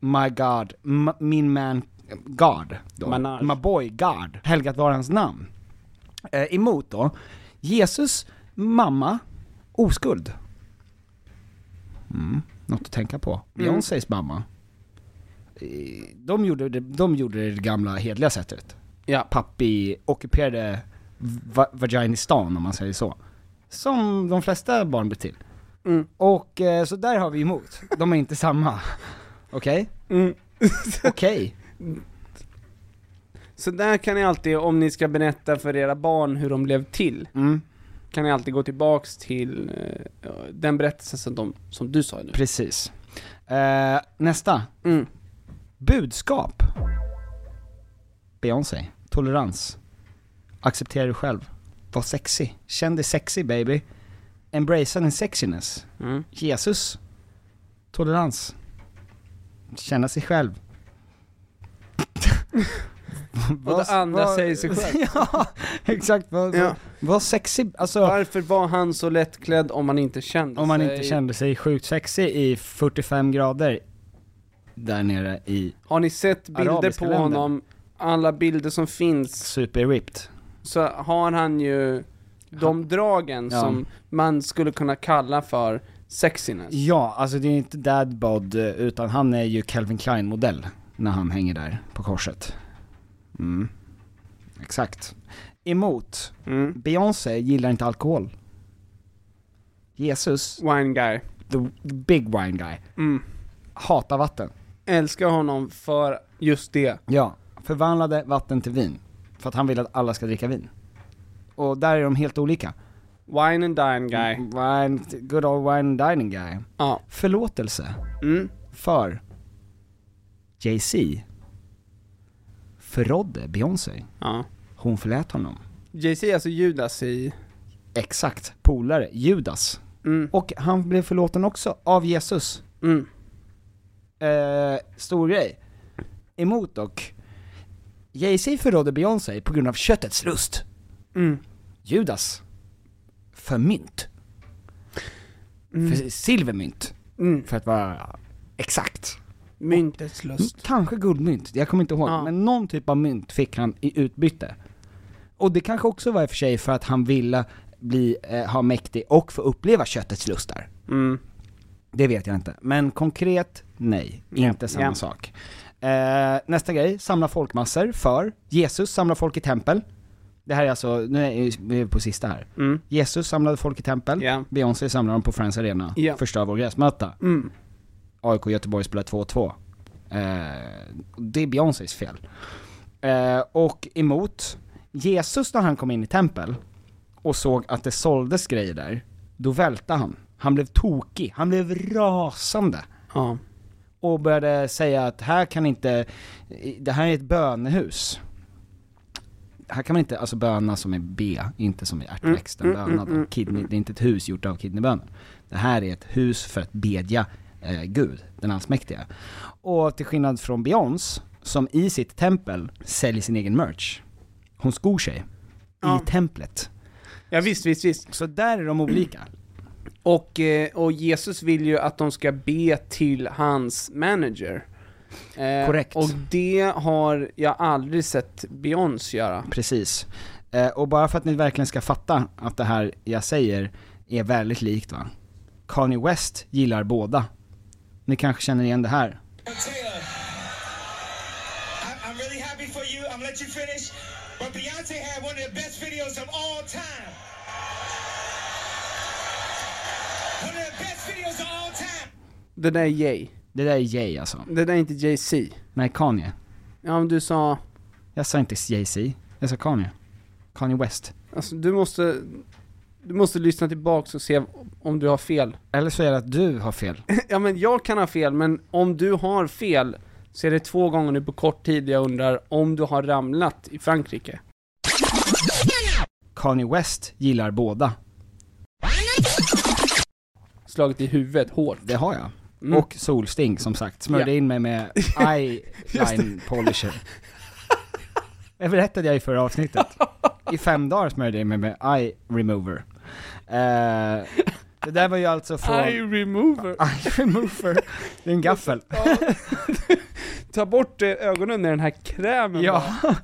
Speaker 7: My God, M- min man, God då.
Speaker 6: Manage.
Speaker 7: My boy God, helgat vare hans namn. Eh, emot då, Jesus mamma, oskuld. Mm, något att tänka
Speaker 6: Mm.
Speaker 7: på. Beyoncés mamma. Eh, De gjorde, det, de gjorde det gamla hedliga sättet.
Speaker 6: Ja.
Speaker 7: Pappi ockuperade va- vaginistan om man säger så. Som de flesta barn blir till.
Speaker 6: Mm.
Speaker 7: Och eh, så där har vi emot. De är inte samma. Okej?
Speaker 6: Mm. <laughs>
Speaker 7: Okej.
Speaker 6: Så där kan ni alltid, om ni ska berätta för era barn hur de blev till,
Speaker 7: Mm.
Speaker 6: kan ni alltid gå tillbaks till eh, den berättelsen som, de, som du sa nu.
Speaker 7: Precis. Eh, nästa.
Speaker 6: Mm.
Speaker 7: Budskap. Beyoncé. Tolerans. Acceptera dig själv. Var sexy. Känn dig sexy baby. Embracea din sexiness.
Speaker 6: Mm.
Speaker 7: Jesus. Tolerans. Känna sig själv.
Speaker 6: <laughs> Och det andra
Speaker 7: vad-
Speaker 6: säger sig själv.
Speaker 7: <laughs> ja, exakt. Var,
Speaker 6: Ja.
Speaker 7: var sexy, alltså
Speaker 6: Varför var han så lättklädd om man inte kände
Speaker 7: om man
Speaker 6: sig?
Speaker 7: inte kände sig sjukt sexy i 45 grader där nere i
Speaker 6: Har ni sett bilder
Speaker 7: Arabiska
Speaker 6: på
Speaker 7: länder.
Speaker 6: honom? Alla bilder som finns,
Speaker 7: super ripped.
Speaker 6: så har han ju de dragen
Speaker 7: Ja.
Speaker 6: som man skulle kunna kalla för sexiness.
Speaker 7: Ja, alltså det är inte dad bod, eh, utan han är ju Calvin Klein modell när han hänger där på korset. Mm. Exakt. Emot.
Speaker 6: Mm.
Speaker 7: Beyoncé gillar inte alkohol. Jesus,
Speaker 6: Wine guy.
Speaker 7: the, the big wine guy,
Speaker 6: Mm.
Speaker 7: hatar vatten.
Speaker 6: Älskar honom för just det.
Speaker 7: Ja, förvandlade vatten till vin. För att han vill att alla ska dricka vin. Och där är de helt olika.
Speaker 6: Wine and dine guy.
Speaker 7: Mm. Wine, good old wine dining guy.
Speaker 6: Ja.
Speaker 7: Förlåtelse.
Speaker 6: Mm.
Speaker 7: för Jay-Z förrådde Beyoncé.
Speaker 6: ja.
Speaker 7: Hon förlät honom.
Speaker 6: Jay-Z är alltså Judas i...
Speaker 7: Exakt, polare, Judas.
Speaker 6: Mm.
Speaker 7: Och han blev förlåten också, av Jesus.
Speaker 6: Mm.
Speaker 7: Eh, stor grej. Emot dock, Jay-Z förrådde Beyoncé på grund av köttets lust.
Speaker 6: Mm.
Speaker 7: Judas, för mynt. För silvermynt,
Speaker 6: Mm.
Speaker 7: för att vara exakt.
Speaker 6: Myntets lust.
Speaker 7: Mm, Kanske guldmynt, jag kommer inte ihåg.
Speaker 6: Ja.
Speaker 7: Men någon typ av mynt fick han i utbyte. Och det kanske också var i och för sig för att han ville bli, eh, ha mäktig och få uppleva köttets lustar.
Speaker 6: Mm.
Speaker 7: Det vet jag inte. Men konkret, nej. Inte samma
Speaker 6: Ja.
Speaker 7: sak. Eh, nästa grej, samla folkmassor för Jesus samlar folk i tempel. Det här är alltså, nu är vi på sista här.
Speaker 6: Mm.
Speaker 7: Jesus samlade folk i tempel,
Speaker 6: Ja.
Speaker 7: Beyoncé samlar dem på Friends Arena,
Speaker 6: Ja.
Speaker 7: förstör vår gräsmatta.
Speaker 6: Mm.
Speaker 7: AIK Göteborg spelar 2-2. Eh, det är Beyoncés fel. Eh, och emot, Jesus när han kom in i tempel och såg att det såldes grejer där, då välte han. Han blev tokig, han blev rasande.
Speaker 6: Ja.
Speaker 7: Och började säga att här kan inte, det här är ett bönehus. Här kan man inte, alltså böna som är B, inte som i ärtväxten,
Speaker 6: Mm, mm,
Speaker 7: böna
Speaker 6: mm,
Speaker 7: då. Kidney, det är inte ett hus gjort av kidneybönor. Det här är ett hus för att bedja eh, Gud, den allsmäktige. Och till skillnad från Beyoncé, som i sitt tempel säljer sin egen merch. Hon skor sig.
Speaker 6: Ja.
Speaker 7: I templet.
Speaker 6: ja, visst, visst, visst.
Speaker 7: Så där är de olika.
Speaker 6: Och, eh, och Jesus vill ju att de ska be till hans manager. Eh,
Speaker 7: Korrekt.
Speaker 6: Och det har jag aldrig sett Beyoncé göra.
Speaker 7: Precis. Eh, och bara för att ni verkligen ska fatta att det här jag säger är väldigt likt va. Kanye West gillar båda. Ni kanske känner igen det här.
Speaker 8: Taylor, I, I'm really happy for you. I'm gonna let you finish. But Beyonce had one of the best videos of all time. One of the best videos of all time.
Speaker 6: Det där är Jay.
Speaker 7: Det där är Jay alltså.
Speaker 6: Det där är inte Jay-Z.
Speaker 7: Nej, Kanye.
Speaker 6: Ja, men du sa...
Speaker 7: Jag sa inte Jay-Z, jag sa Kanye. Kanye West.
Speaker 6: Alltså, du måste... Du måste lyssna tillbaks och se om du har fel.
Speaker 7: Eller så är det att du har fel.
Speaker 6: <clears throat> ja, men jag kan ha fel, men om du har fel så är det två gånger nu på kort tid jag undrar om du har ramlat i Frankrike.
Speaker 7: Kanye West gillar båda.
Speaker 6: Slagit i huvudet hårt.
Speaker 7: Det har jag.
Speaker 6: Mm.
Speaker 7: Och solsting som sagt. Smörjde
Speaker 6: Ja.
Speaker 7: in
Speaker 6: <laughs>
Speaker 7: mig med eye-line polisher. Det berättade jag i förra avsnittet. I fem dagar smörjde jag in mig med eye remover. Eh, det där var ju alltså från...
Speaker 6: Eye remover.
Speaker 7: Eye remover. Det är en gaffel.
Speaker 6: <laughs> Ta bort eh, ögonen med den här krämen bara.
Speaker 7: Ja.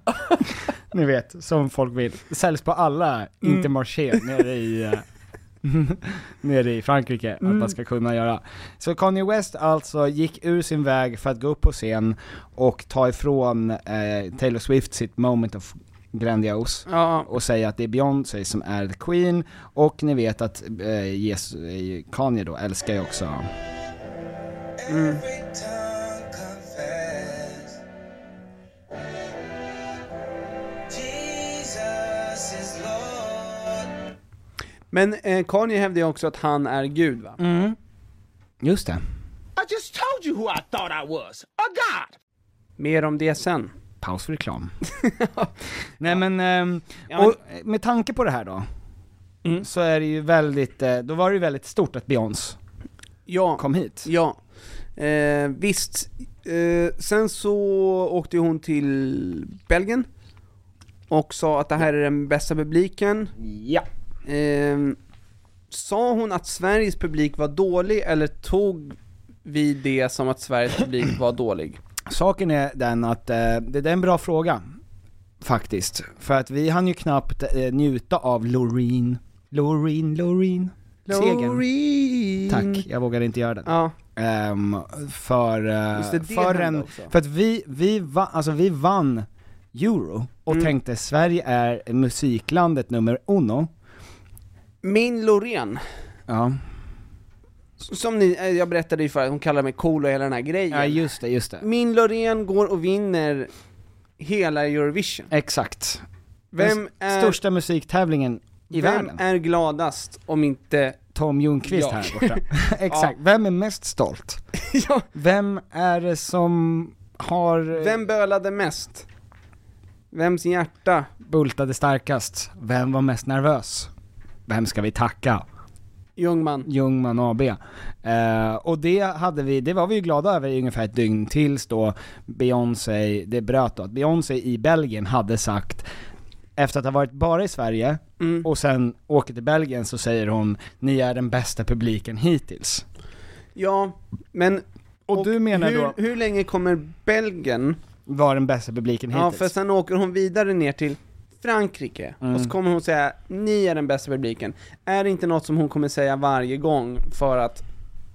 Speaker 7: Ni vet, som folk vill. Det säljs på alla Intermarché nere i, eh, <laughs> nere i Frankrike, att man ska kunna göra. Så Kanye West alltså gick ur sin väg för att gå upp på scen och ta ifrån eh, Taylor Swift sitt moment of grandios
Speaker 6: Ja,
Speaker 7: och säga att det är Beyoncé som är the Queen och ni vet att eh, Jesus, eh, Kanye då älskar ju också
Speaker 8: Every tongue confess Jesus is Lord.
Speaker 6: men eh, Kanye hävdar ju också att han är gud va?
Speaker 7: Mm. Just det,
Speaker 8: I just told you who I thought I was a god.
Speaker 6: Mer om det sen. <laughs>
Speaker 7: paus för reklam. Nej men, ehm,
Speaker 6: Ja, men-
Speaker 7: och eh, med tanke på det här då,
Speaker 6: Mm.
Speaker 7: så är det ju väldigt, eh, då var det ju väldigt stort att Beyoncé
Speaker 6: Ja,
Speaker 7: kom hit.
Speaker 6: Ja, eh, visst. Eh, sen så åkte hon till Belgien och sa att det här är den bästa publiken.
Speaker 7: Ja.
Speaker 6: Eh, sa hon att Sveriges publik var dålig eller tog vi det som att Sveriges publik
Speaker 7: <clears throat>
Speaker 6: var dålig?
Speaker 7: Saken är den att, eh, det, det är en bra fråga, faktiskt. För att vi hann ju knappt eh, njuta av Loreen, Loreen, Loreen, segern.
Speaker 6: Loreen.
Speaker 7: Tack, jag vågade inte göra den.
Speaker 6: Ja,
Speaker 7: Ehm, för, eh,
Speaker 6: Just det, det
Speaker 7: för,
Speaker 6: hände
Speaker 7: en,
Speaker 6: också.
Speaker 7: för att vi, vi, va, alltså vi vann euro och
Speaker 6: Mm.
Speaker 7: tänkte Sverige är musiklandet nummer uno.
Speaker 6: min Loreen,
Speaker 7: Ja.
Speaker 6: som ni, eh, jag berättade ju för hon kallar mig cool och hela den här grejen.
Speaker 7: ja, just det, just det.
Speaker 6: Min Loreen går och vinner hela Eurovision.
Speaker 7: Exakt.
Speaker 6: Vem
Speaker 7: Den
Speaker 6: är...
Speaker 7: Största musiktävlingen i
Speaker 6: Vem
Speaker 7: världen.
Speaker 6: är gladast om inte...
Speaker 7: Tom Ljungqvist
Speaker 6: Ja.
Speaker 7: här
Speaker 6: <laughs>
Speaker 7: borta. <laughs> Exakt. Vem är mest stolt?
Speaker 6: ja,
Speaker 7: Vem är det som har
Speaker 6: vem bölade mest? Vems hjärta?
Speaker 7: bultade starkast? Vem var mest nervös? Vem ska vi tacka?
Speaker 6: Ljungman.
Speaker 7: Ljungman AB. Eh, och det hade vi, det var vi ju glada över i ungefär ett dygn tills då Beyoncé, det bröt då, att Beyoncé i Belgien hade sagt efter att ha varit bara i Sverige
Speaker 6: Mm.
Speaker 7: och sen åker till Belgien så säger hon ni är den bästa publiken hittills.
Speaker 6: Ja, men...
Speaker 7: Och, du menar
Speaker 6: hur,
Speaker 7: då,
Speaker 6: Hur länge kommer Belgien?
Speaker 7: var den bästa publiken
Speaker 6: Ja,
Speaker 7: hittills? Mm.
Speaker 6: för sen åker hon vidare ner till Frankrike. Och så kommer hon säga, ni är den bästa publiken. Är det inte något som hon kommer säga varje gång för att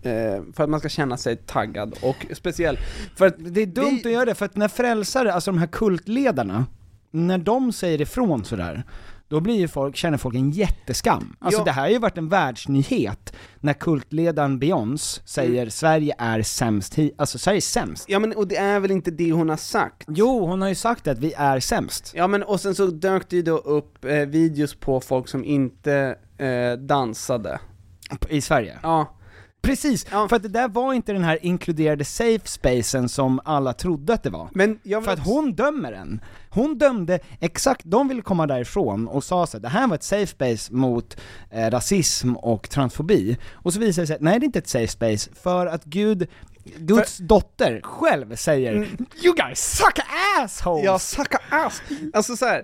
Speaker 6: eh, för att man ska känna sig taggad och speciell. För att
Speaker 7: Det är dumt
Speaker 6: Vi-
Speaker 7: att göra det, för att när frälsare, alltså de här kultledarna, när de säger ifrån sådär, då blir ju folk, känner folk en jätteskam. Alltså
Speaker 6: Ja.
Speaker 7: det här har ju varit en världsnyhet, när kultledaren Beyoncé säger Sverige är sämst hit, alltså Sverige är sämst.
Speaker 6: ja men och det är väl inte det hon har sagt?
Speaker 7: Jo, hon har ju sagt att vi är sämst.
Speaker 6: Ja men och sen så dök det ju då upp eh, videos på folk som inte eh, dansade.
Speaker 7: I Sverige.
Speaker 6: Ja,
Speaker 7: Precis,
Speaker 6: Ja.
Speaker 7: för att det där var inte den här inkluderade safe spacen som alla trodde att det var.
Speaker 6: men jag vill
Speaker 7: För att
Speaker 6: också-
Speaker 7: hon dömer en. Hon dömde exakt, de ville komma därifrån och sa så här, det här var ett safe space mot eh, rasism och transfobi. Och så visade det sig att nej det är inte ett safe space för att Gud, Guds dotter själv säger You guys suck assholes!
Speaker 6: Mm. Ja, sucka ass! Alltså så här.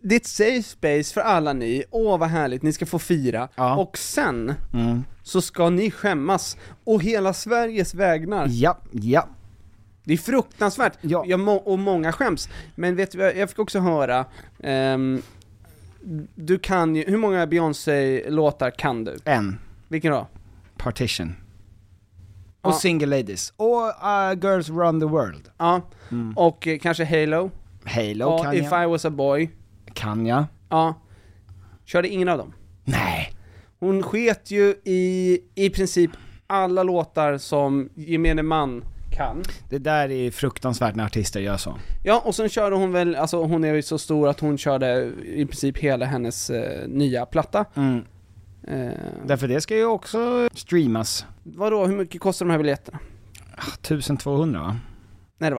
Speaker 6: det är ett safe space för alla ni, åh vad härligt, ni ska få fira,
Speaker 7: Ja. Mm.
Speaker 6: och sen så ska ni skämmas, och hela Sveriges vägnar.
Speaker 7: Ja, ja.
Speaker 6: Det är fruktansvärt,
Speaker 7: Ja.
Speaker 6: Jag må- och många skäms. Men vet du, vad, jag fick också höra, ehm, du kan ju, hur många Beyoncé-låtar kan du?
Speaker 7: En.
Speaker 6: Vilken då?
Speaker 7: Partition.
Speaker 6: Ja.
Speaker 7: Och Single Ladies. Och eh, Girls Run the World.
Speaker 6: Ja, och eh, kanske Halo,
Speaker 7: Mm. Halo
Speaker 6: och
Speaker 7: kan
Speaker 6: If
Speaker 7: jag.
Speaker 6: I was a boy,
Speaker 7: Kan jag?
Speaker 6: ja. Körde ingen av dem.
Speaker 7: Nej.
Speaker 6: Hon sket ju i, i princip alla låtar som gemene man kan.
Speaker 7: Det där är fruktansvärt när artister gör så.
Speaker 6: Ja, och sen körde hon väl, alltså hon är ju så stor att hon körde i princip hela hennes eh, nya platta.
Speaker 7: Mm.
Speaker 6: Eh,
Speaker 7: Därför det ska ju också streamas.
Speaker 6: vadå, hur mycket kostar de här biljetterna?
Speaker 7: 1200 va?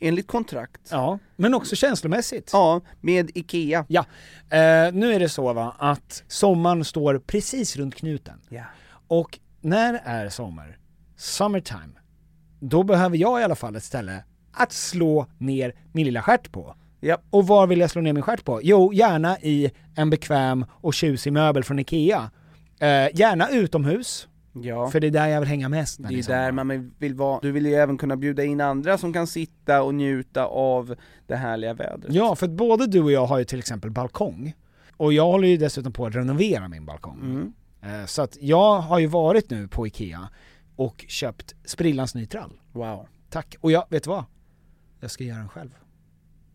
Speaker 6: enligt kontrakt.
Speaker 7: Ja, men också känslomässigt.
Speaker 6: Ja, med IKEA.
Speaker 7: Ja, eh, nu är det så va, att sommaren står precis runt knuten.
Speaker 6: Ja.
Speaker 7: Och när är sommar? Summertime. Då behöver jag i alla fall ett ställe att slå ner min lilla stjärt på.
Speaker 6: Ja.
Speaker 7: Och var vill jag slå ner min stjärt på? Jo, gärna i en bekväm och tjusig möbel från IKEA. Eh, gärna utomhus,
Speaker 6: ja.
Speaker 7: för det är där jag vill hänga liksom. mest. när
Speaker 6: Det är ju
Speaker 7: sommar.
Speaker 6: där man vill vara. Du vill ju även kunna bjuda in andra som kan sitta och njuta av det härliga vädret.
Speaker 7: Ja, för att både du och jag har ju till exempel balkong. Och jag håller ju dessutom på att renovera min balkong.
Speaker 6: Mm.
Speaker 7: Eh, Så att jag har ju varit nu på IKEA och köpt sprillans ny trall.
Speaker 6: Wow.
Speaker 7: Tack. Och jag, vet du vad? Jag ska göra den själv.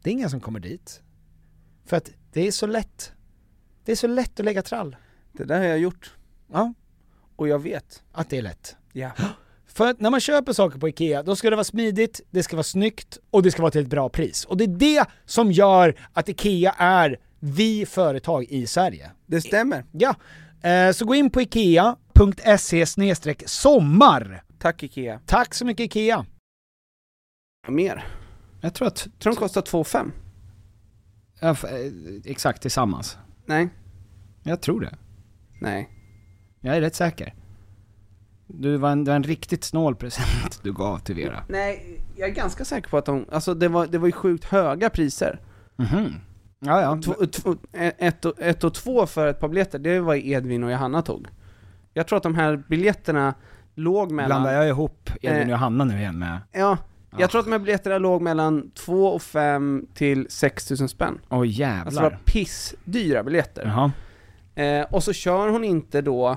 Speaker 7: Det är ingen som kommer dit. För att det är så lätt. Det är så lätt att lägga trall.
Speaker 6: Det där har jag gjort.
Speaker 7: Ja.
Speaker 6: Och jag vet.
Speaker 7: Att det är lätt.
Speaker 6: Ja.
Speaker 7: För att när man köper saker på IKEA, då ska det vara smidigt, det ska vara snyggt och det ska vara till ett bra pris. Och det är det som gör att IKEA är vi företag i Sverige.
Speaker 6: Det stämmer.
Speaker 7: Ja, eh, så gå in på IKEA.se E sommar.
Speaker 6: Tack IKEA.
Speaker 7: Tack så mycket IKEA.
Speaker 6: Mer.
Speaker 7: Jag tror att,
Speaker 6: Tror de kostar 2,5?
Speaker 7: eh, exakt tillsammans.
Speaker 6: Nej.
Speaker 7: Jag tror det.
Speaker 6: Nej.
Speaker 7: Jag är rätt säker. Du var en, det var en riktigt snål present du gav till Vera.
Speaker 6: Nej, jag är ganska säker på att de, alltså det var, det var ju sjukt höga priser.
Speaker 7: Mhm. Ja, ja.
Speaker 6: Två, två, ett, och, ett och två för ett par biljetter, det var ju Edvin och Johanna tog. Jag tror att de här biljetterna låg mellan...
Speaker 7: Blandar jag ihop Edvin
Speaker 6: Eh.
Speaker 7: och Johanna nu igen med...
Speaker 6: Ja,
Speaker 7: Ja.
Speaker 6: jag tror att de här biljetterna låg mellan 2 och 5 till 6 000 spänn. Alltså
Speaker 7: Åh
Speaker 6: det
Speaker 7: jävlar.
Speaker 6: var pissdyra biljetter.
Speaker 7: Jaha.
Speaker 6: Eh, och så kör hon inte då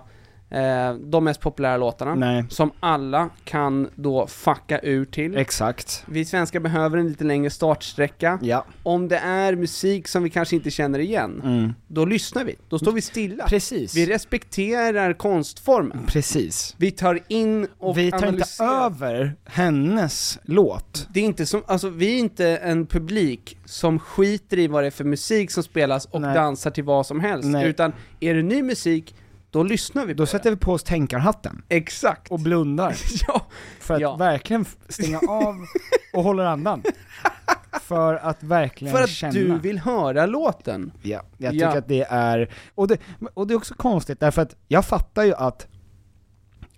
Speaker 6: eh, de mest populära låtarna,
Speaker 7: Nej,
Speaker 6: som alla kan då fucka ur till.
Speaker 7: exakt.
Speaker 6: vi svenskar behöver en lite längre startsträcka.
Speaker 7: Ja.
Speaker 6: Om det är musik som vi kanske inte känner igen, då lyssnar vi. Då står vi stilla.
Speaker 7: Mm. Precis.
Speaker 6: Vi respekterar konstformen.
Speaker 7: Precis.
Speaker 6: Vi tar in och
Speaker 7: Vi tar inte
Speaker 6: analyserar.
Speaker 7: över hennes låt.
Speaker 6: Det är inte som, alltså vi är inte en publik som skiter i vad det är för musik som spelas och
Speaker 7: Nej.
Speaker 6: dansar till vad som helst.
Speaker 7: Nej.
Speaker 6: Utan är det ny musik, då lyssnar vi på
Speaker 7: Då
Speaker 6: det.
Speaker 7: sätter vi på oss tänkarhatten.
Speaker 6: Exakt.
Speaker 7: Och <laughs> blundar.
Speaker 6: <laughs> ja,
Speaker 7: För att
Speaker 6: Ja.
Speaker 7: verkligen f- stänga av och hålla
Speaker 6: <laughs>
Speaker 7: andan. För att verkligen
Speaker 6: för att
Speaker 7: känna.
Speaker 6: du vill höra låten.
Speaker 7: Ja, jag tycker
Speaker 6: Ja.
Speaker 7: att det är, och det, och det är också konstigt därför att jag fattar ju att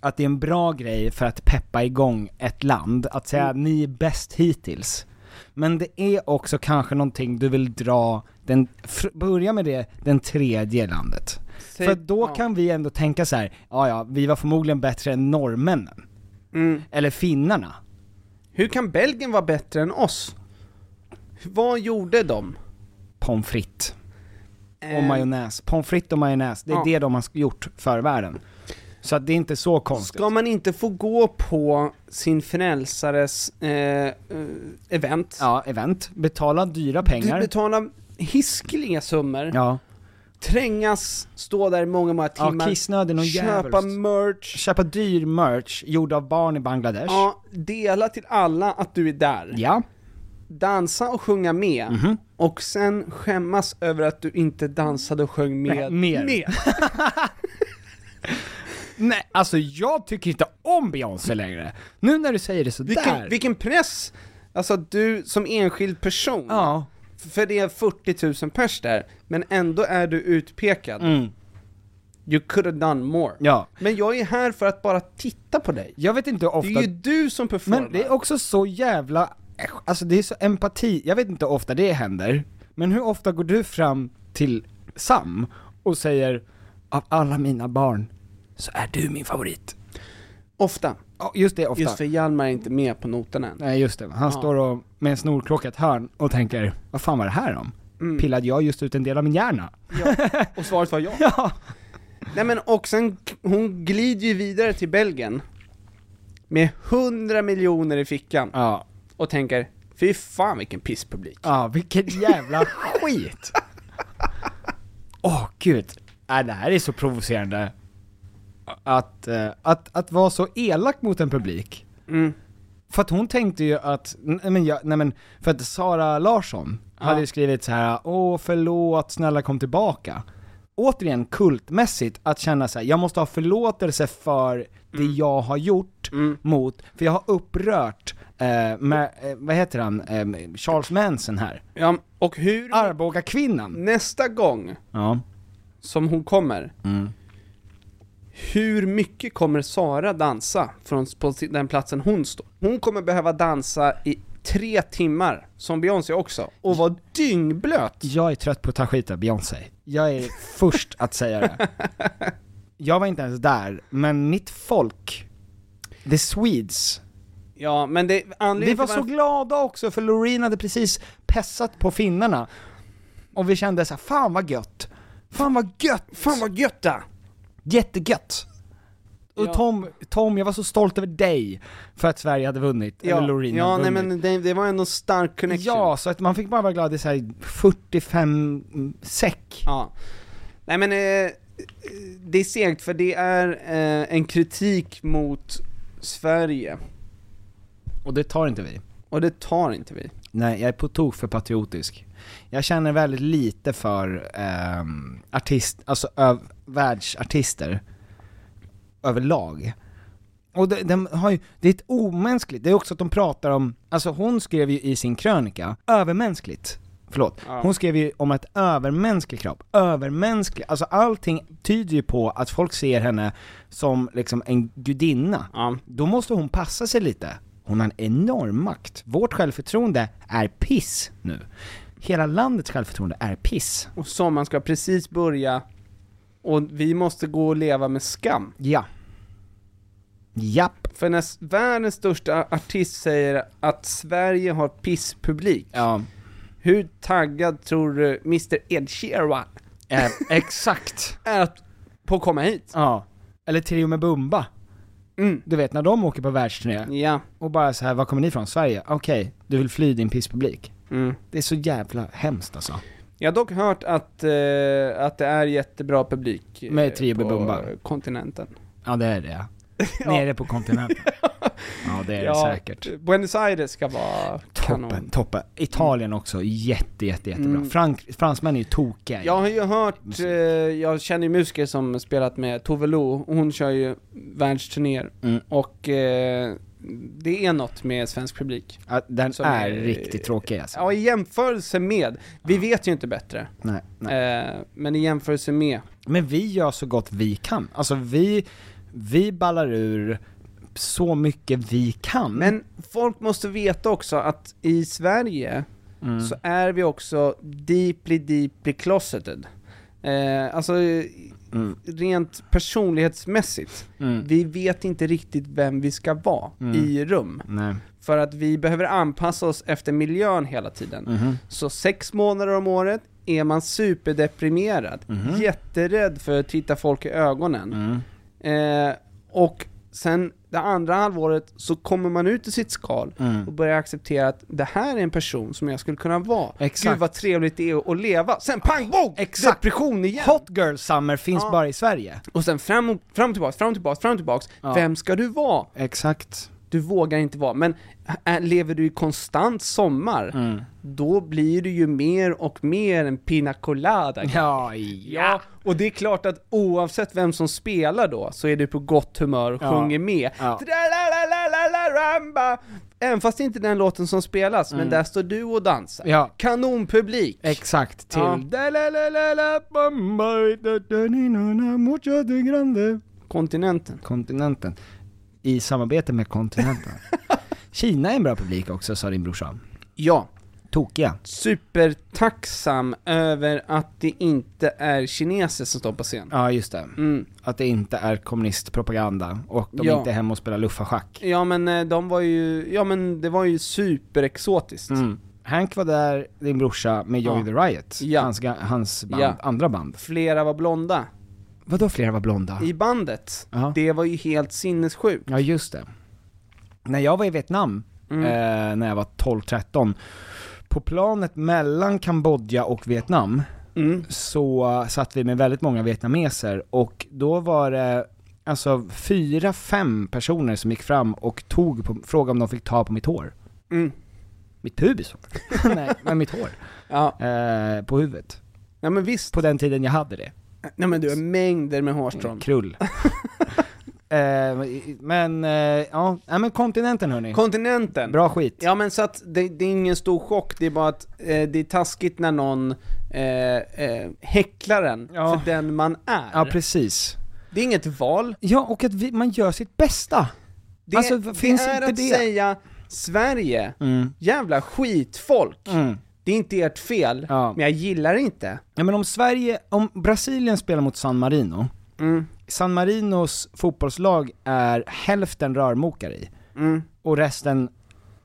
Speaker 7: att det är en bra grej för att peppa igång ett land, att säga
Speaker 6: Mm.
Speaker 7: ni är bäst hittills. Men det är också kanske någonting du vill dra, den, fr, börja med det, den tredje landet.
Speaker 6: Säg-
Speaker 7: för då
Speaker 6: ja.
Speaker 7: kan vi ändå tänka så här, ja ja, vi var förmodligen bättre än norrmännen.
Speaker 6: Mm.
Speaker 7: Eller finnarna.
Speaker 6: Hur kan Belgien vara bättre än oss? Vad gjorde de?
Speaker 7: Pommes frites och
Speaker 6: Eh,
Speaker 7: majonnäs. Pommes frites och majonnäs, det är
Speaker 6: Ja.
Speaker 7: det de har gjort för världen. Så att det är inte så konstigt.
Speaker 6: Ska man inte få gå på sin frälsares eh, eh, event?
Speaker 7: Ja, event. Betala dyra pengar.
Speaker 6: Betala hiskeliga summor.
Speaker 7: ja.
Speaker 6: trängas, stå där i många, många
Speaker 7: ja,
Speaker 6: timmar,
Speaker 7: kissnöden och
Speaker 6: köpa
Speaker 7: djävulskt.
Speaker 6: merch,
Speaker 7: Köpa dyr merch gjord av barn i Bangladesh.
Speaker 6: ja, dela till alla att du är där.
Speaker 7: Ja. Mhm.
Speaker 6: Dansa och sjunga med. Och sen skämmas över att du inte dansade och sjöng med.
Speaker 7: Nej, mer. Nej, alltså jag tycker inte om Beyoncé längre. Nu när du säger det sådär.
Speaker 6: Vilken, vilken press! Alltså att du som enskild person,
Speaker 7: Ja.
Speaker 6: för det är 40 000 pers där, men ändå är du utpekad.
Speaker 7: Mm.
Speaker 6: You could have done more.
Speaker 7: Ja.
Speaker 6: Men jag är här för att bara titta på dig.
Speaker 7: Jag vet inte hur ofta...
Speaker 6: Det är ju du som performar.
Speaker 7: Men det är också så jävla, alltså det är så empati, jag vet inte hur ofta det händer, men hur ofta går du fram till Sam och säger av alla mina barn så är du min favorit.
Speaker 6: Ofta.
Speaker 7: Ja, just det, ofta.
Speaker 6: Just för Hjalmar är inte med på notan än.
Speaker 7: Nej just det, han
Speaker 6: Ja.
Speaker 7: står och, med en snorklocka i ett hörn och tänker, vad fan var det här om?
Speaker 6: Mm.
Speaker 7: Pillade jag just ut en del av min hjärna?
Speaker 6: Och svaret var ja. ja. Nej men och sen, hon glider ju vidare till Belgien med 100 miljoner i fickan.
Speaker 7: Ja.
Speaker 6: Och tänker, fy fan vilken pisspublik.
Speaker 7: Ja, vilken jävla skit! Åh gud, äh, det här är så provocerande. Att, eh, att, att vara så elak mot en publik. För att hon tänkte ju att, nej men, jag, nej men för att Sara Larsson hade ju skrivit så här: åh förlåt, snälla kom tillbaka. Återigen kultmässigt att känna så här: jag måste ha förlåtelse för det jag har gjort mot, för jag har upprört Eh, med, eh, vad heter han, eh, Charles Manson här.
Speaker 6: Ja, och hur...
Speaker 7: Arboga kvinnan
Speaker 6: Nästa gång
Speaker 7: Ja.
Speaker 6: som hon kommer, hur mycket kommer Sara dansa från på den platsen hon står? Hon kommer behöva dansa i tre timmar, som Beyoncé också, och vara dyngblöt.
Speaker 7: Jag är trött på att ta skit av Beyoncé. Jag är först att säga det. Jag var inte ens där, men mitt folk, the Swedes,
Speaker 6: Ja, men det...
Speaker 7: vi
Speaker 6: anledningen
Speaker 7: var
Speaker 6: till
Speaker 7: så
Speaker 6: varför-
Speaker 7: glada också för Loreen hade precis pessat på finnarna. Och vi kände så här, fan vad gött! Fan vad gött!
Speaker 6: Fan vad götta!
Speaker 7: Jättegött! Och
Speaker 6: Ja.
Speaker 7: Tom, Tom, jag var så stolt över dig för att Sverige hade vunnit,
Speaker 6: Ja,
Speaker 7: eller Loreen
Speaker 6: ja
Speaker 7: hade
Speaker 6: nej
Speaker 7: vunnit.
Speaker 6: men det, det var ändå en stark connection.
Speaker 7: Ja, så att man fick bara vara glad i så här 45 mm, säck.
Speaker 6: Ja. Nej men, eh, det är segt för det är eh, en kritik mot Sverige.
Speaker 7: Och det tar inte vi.
Speaker 6: Och det tar inte vi.
Speaker 7: Nej, jag är på tok för patriotisk. Jag känner väldigt lite för ehm, artist, alltså öv, världsartister överlag. Och det, de har ju, det är ett omänskligt, det är också att de pratar om, alltså hon skrev ju i sin krönika, övermänskligt. Förlåt.
Speaker 6: Ja.
Speaker 7: Hon skrev ju om ett övermänsklig kropp, övermänsklig, alltså allting tyder ju på att folk ser henne som liksom en gudinna
Speaker 6: Ja.
Speaker 7: då måste hon passa sig lite. Hon har en enorm makt. Vårt självförtroende är piss nu. Hela landets självförtroende är piss.
Speaker 6: Och sommaren ska precis börja och vi måste gå och leva med skam.
Speaker 7: Ja. Japp.
Speaker 6: För när s- världens största artist säger att Sverige har pisspublik,
Speaker 7: Ja.
Speaker 6: hur taggad tror du Mr Ed Sheeran
Speaker 7: Eh, exakt.
Speaker 6: är att- på att komma hit?
Speaker 7: Ja. Eller Trio med Bumba.
Speaker 6: Mm.
Speaker 7: Du vet när de åker på världsturné
Speaker 6: Ja.
Speaker 7: och bara så här, var kommer ni ifrån? Sverige? Okej, du vill fly din pisspublik.
Speaker 6: Mm.
Speaker 7: Det är så jävla hemskt alltså.
Speaker 6: Jag har dock hört att, eh, att det är jättebra publik eh,
Speaker 7: Med Tribe
Speaker 6: på
Speaker 7: Bumba.
Speaker 6: kontinenten.
Speaker 7: Ja det
Speaker 6: <laughs>
Speaker 7: är det. Nere på kontinenten. Ja det är det säkert.
Speaker 6: Buenos Aires ska vara
Speaker 7: Toppen,
Speaker 6: kanon.
Speaker 7: toppen. Italien också, jätte, jätte, jättebra.
Speaker 6: Mm.
Speaker 7: Frank, fransmän är ju tokiga.
Speaker 6: Jag har ju hört, eh, jag känner ju musiker som spelat med Tove Lo, och hon kör ju världsturnéer.
Speaker 7: Mm.
Speaker 6: Och eh, det är något med svensk publik.
Speaker 7: Ja, den
Speaker 6: Som
Speaker 7: är,
Speaker 6: är-
Speaker 7: riktigt tråkig alltså.
Speaker 6: Ja, i jämförelse med, vi vet ju inte bättre,
Speaker 7: Nej, nej.
Speaker 6: eh, men i jämförelse med,
Speaker 7: Men vi gör så gott vi kan. Alltså vi, vi ballar ur så mycket vi kan.
Speaker 6: Men folk måste veta också att i Sverige så är vi också deeply, deeply closeted. Eh, alltså, eh, rent personlighetsmässigt.
Speaker 7: Mm.
Speaker 6: Vi vet inte riktigt vem vi ska vara i rum.
Speaker 7: Nej.
Speaker 6: För att vi behöver anpassa oss efter miljön hela tiden.
Speaker 7: Mhm.
Speaker 6: Så sex månader om året är man superdeprimerad,
Speaker 7: Mhm.
Speaker 6: jätterädd för att titta folk i ögonen.
Speaker 7: Mm.
Speaker 6: Eh, och sen det andra halvåret så kommer man ut ur sitt skal
Speaker 7: Mm.
Speaker 6: och börjar acceptera att det här är en person som jag skulle kunna vara.
Speaker 7: Exakt.
Speaker 6: Gud vad trevligt det är att leva. Sen pang, boom!
Speaker 7: Exakt.
Speaker 6: Depression igen!
Speaker 7: Hot girl summer finns
Speaker 6: Ja.
Speaker 7: bara i Sverige.
Speaker 6: Och sen fram och fram och tillbaks, fram och tillbaks, fram och tillbaks.
Speaker 7: Ja.
Speaker 6: Vem ska du vara?
Speaker 7: Exakt.
Speaker 6: Du vågar inte vara. Men äh, lever du i konstant sommar,
Speaker 7: Mm.
Speaker 6: då blir du ju mer och mer en pina colada.
Speaker 7: Ja, <laughs> ja.
Speaker 6: Ja, och det är klart att oavsett vem som spelar då, så är du på gott humör och
Speaker 7: Ja.
Speaker 6: sjunger med.
Speaker 7: Ja.
Speaker 6: Tra-la-la-la-la-la-ramba. Även fast det inte är den låten som spelas, men där står du och dansar.
Speaker 7: Mm. Ja.
Speaker 6: Kanonpublik!
Speaker 7: Exakt, till...
Speaker 6: Ja.
Speaker 7: Da-la-la-la-la, Bombay, da-da-ni-na-na, mucho de grande.
Speaker 6: Kontinenten.
Speaker 7: kontinenten. <laughs> I samarbete med kontinenten. Kina är en bra publik också, sa din brorsa.
Speaker 6: Ja.
Speaker 7: Tokiga.
Speaker 6: supertacksam över att det inte är kineser som står på scen.
Speaker 7: Ja, just det.
Speaker 6: Mm.
Speaker 7: Att det inte är kommunistpropaganda och de
Speaker 6: Ja.
Speaker 7: inte är hemma och spelar luffarschack.
Speaker 6: Ja men eh, de var ju, ja men det var ju superexotiskt.
Speaker 7: Mm. Hank var där, din brorsa, med Joey
Speaker 6: Ja.
Speaker 7: the Riot.
Speaker 6: Ja.
Speaker 7: Hans, ga- hans band,
Speaker 6: Ja.
Speaker 7: andra band.
Speaker 6: Flera var blonda
Speaker 7: Vadå flera var blonda?
Speaker 6: i bandet.
Speaker 7: Ah. Ja.
Speaker 6: Det var ju helt sinnessjukt.
Speaker 7: Ja, just det. När jag var i Vietnam,
Speaker 6: Mm.
Speaker 7: eh, när jag var 12-13, på planet mellan Kambodja och Vietnam
Speaker 6: Mm.
Speaker 7: så eh, satt vi med väldigt många vietnameser och då var det alltså fyra, fem personer som gick fram och tog på, frågade om de fick ta på mitt hår.
Speaker 6: Mm.
Speaker 7: Mitt pubis? <laughs> Nej, men mitt hår.
Speaker 6: Ja.
Speaker 7: Eh, på huvudet.
Speaker 6: Nej men visst.
Speaker 7: På den tiden jag hade det.
Speaker 6: Nej men du har mängder med hårstrån.
Speaker 7: Krull. <laughs> eh, men, eh, ja, Nej, men kontinenten hörni.
Speaker 6: Kontinenten.
Speaker 7: Bra skit.
Speaker 6: Ja men så att det, det är ingen stor chock, det är bara att eh, det är taskigt när någon eh, eh, häcklar en
Speaker 7: Ja.
Speaker 6: för den man är.
Speaker 7: Ja, precis.
Speaker 6: det är inget val,
Speaker 7: Ja, och att vi, man gör sitt bästa.
Speaker 6: det,
Speaker 7: Alltså,
Speaker 6: det
Speaker 7: finns
Speaker 6: är
Speaker 7: inte
Speaker 6: att
Speaker 7: det?
Speaker 6: säga Sverige, jävla skitfolk.
Speaker 7: Mm.
Speaker 6: Det är inte ert fel,
Speaker 7: Ja.
Speaker 6: men jag gillar det inte.
Speaker 7: Ja, men om Sverige, om Brasilien spelar mot San Marino,
Speaker 6: Mm.
Speaker 7: San Marinos fotbollslag är hälften rörmokare i,
Speaker 6: Mm.
Speaker 7: och resten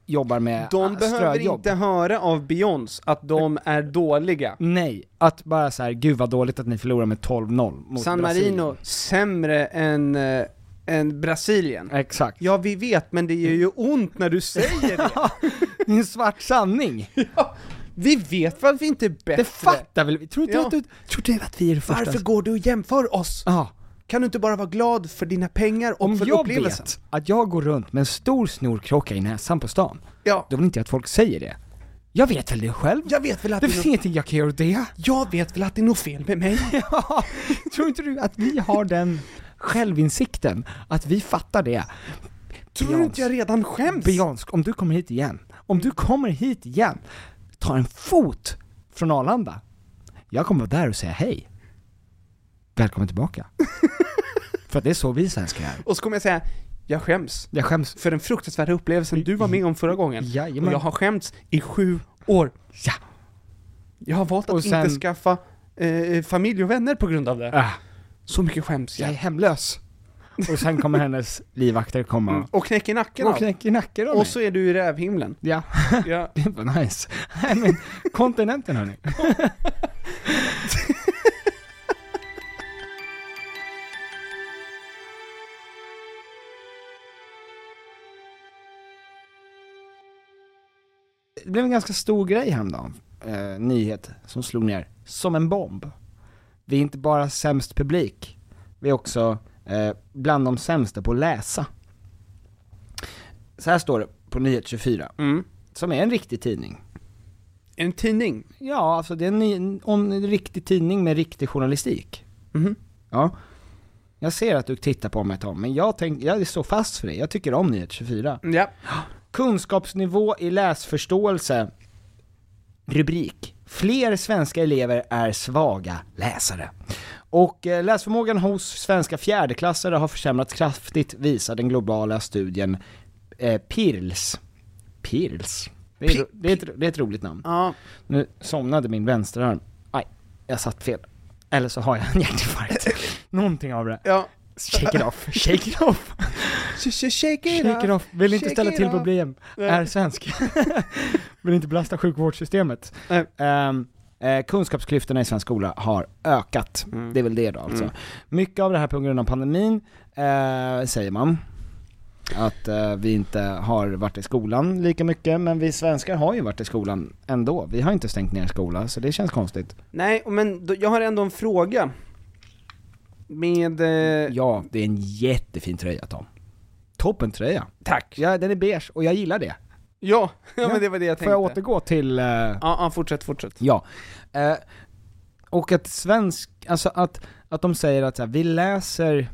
Speaker 7: jobbar med
Speaker 6: De
Speaker 7: äh,
Speaker 6: behöver
Speaker 7: ströjobb.
Speaker 6: inte höra av Beyoncé att de är dåliga.
Speaker 7: Nej, att bara så här, gud vad dåligt att ni förlorar med 12-0 mot
Speaker 6: San
Speaker 7: Brasilien.
Speaker 6: Marino, sämre än, eh, än Brasilien.
Speaker 7: Exakt.
Speaker 6: Ja, vi vet, men det gör ju ont när du säger det.
Speaker 7: <laughs> Det är en
Speaker 6: <laughs>
Speaker 7: svart sanning.
Speaker 6: Vi vet väl att vi inte är bättre?
Speaker 7: Det fattar väl vi? Tror du,
Speaker 6: Ja.
Speaker 7: att, du, tror du att vi är det första?
Speaker 6: Varför går du och jämför oss?
Speaker 7: Ja.
Speaker 6: Kan du inte bara vara glad för dina pengar och
Speaker 7: Om
Speaker 6: för
Speaker 7: jag
Speaker 6: upplevelsen?
Speaker 7: vet att jag går runt med en stor snorkrocka i näsan på stan,
Speaker 6: Ja.
Speaker 7: då vill inte jag att folk säger det. Jag vet väl det själv?
Speaker 6: Jag vet väl att
Speaker 7: det
Speaker 6: det,
Speaker 7: finns
Speaker 6: är no-
Speaker 7: ingenting jag kan göra åt det.
Speaker 6: jag vet väl att det är något fel med mig?
Speaker 7: <laughs> Ja, tror inte du att vi har den självinsikten? Att vi fattar det?
Speaker 6: Tror du inte jag redan skäms?
Speaker 7: Bejansk, om du kommer hit igen, om du kommer hit igen, ta en fot från Arlanda. Jag kommer vara där och säga hej.
Speaker 6: <laughs>
Speaker 7: Välkommen tillbaka. För att det är så vi svenskar är.
Speaker 6: Och så kommer jag säga, jag skäms.
Speaker 7: Jag skäms.
Speaker 6: För den fruktansvärda upplevelsen du var med om förra gången.
Speaker 7: Jajamän.
Speaker 6: Och jag har skämts i sju år.
Speaker 7: Ja.
Speaker 6: Jag har valt
Speaker 7: Och
Speaker 6: att
Speaker 7: sen-
Speaker 6: inte skaffa eh, familj och vänner på grund av det.
Speaker 7: Ah.
Speaker 6: Så mycket skäms
Speaker 7: jag är
Speaker 6: jag.
Speaker 7: hemlös. Och sen kommer hennes livvakter komma
Speaker 6: Mm. Och knäcker nacken
Speaker 7: och
Speaker 6: av.
Speaker 7: knäcker nacken av
Speaker 6: Och
Speaker 7: mig.
Speaker 6: så är du i rävhimlen.
Speaker 7: Ja,
Speaker 6: Ja.
Speaker 7: <laughs> det var nice. Nej men, kontinenten hörni. <laughs> Det blev en ganska stor grej häromdagen, eh, nyhet, som slog ner. Som en bomb. Vi är inte bara sämst publik, vi är också eh, bland de sämsta på att läsa. Så här står det på Nyhet 24,
Speaker 6: Mm.
Speaker 7: som är en riktig tidning.
Speaker 6: En tidning.
Speaker 7: Ja, alltså det är en, ny, en, en riktig tidning med riktig journalistik.
Speaker 6: Mhm.
Speaker 7: Ja. Jag ser att du tittar på mig Tom, men jag, tänk, jag står fast för det. Jag tycker om Nyhet 24.
Speaker 6: Ja.
Speaker 7: Kunskapsnivå i läsförståelse. Rubrik. Fler svenska elever är svaga läsare. Och eh, läsförmågan hos svenska fjärdeklassare har försämrats kraftigt visar den globala studien eh, PIRLS. PIRLS? Det är, ro- det, är ett, det är ett roligt namn.
Speaker 6: Ja.
Speaker 7: Nu somnade min vänsterarm. Aj, jag satt fel. Eller så har jag en hjärtinfarkt. <laughs> Någonting av det.
Speaker 6: Ja.
Speaker 7: Shake it off, shake it off.
Speaker 6: Shake it, shake
Speaker 7: <laughs> Shake it off, vill inte
Speaker 6: Shake
Speaker 7: ställa
Speaker 6: it
Speaker 7: till
Speaker 6: off.
Speaker 7: problem,
Speaker 6: Nej.
Speaker 7: är svensk. <laughs> vill inte belasta sjukvårdssystemet.
Speaker 6: Nej.
Speaker 7: Ehm, eh, kunskapsklyftorna i svensk skola har ökat, det är väl det då alltså. Mycket av det här på grund av pandemin, eh, säger man. Att eh, vi inte har varit i skolan lika mycket, men vi svenskar har ju varit i skolan ändå. Vi har inte stängt ner skolan, så det känns konstigt.
Speaker 6: Nej, men då, jag har ändå en fråga. Med... Eh,
Speaker 7: Ja, det är en jättefin tröja Tom. Toppen tröja.
Speaker 6: Tack.
Speaker 7: Ja, den är beige och jag gillar det.
Speaker 6: Ja,
Speaker 7: Ja.
Speaker 6: ja, <laughs> men det var det jag tänkte.
Speaker 7: Får jag återgå till... eh,
Speaker 6: Ja, ja, fortsätt, fortsätt.
Speaker 7: Ja. Eh, och att svensk, alltså att, att de säger att så här, vi läser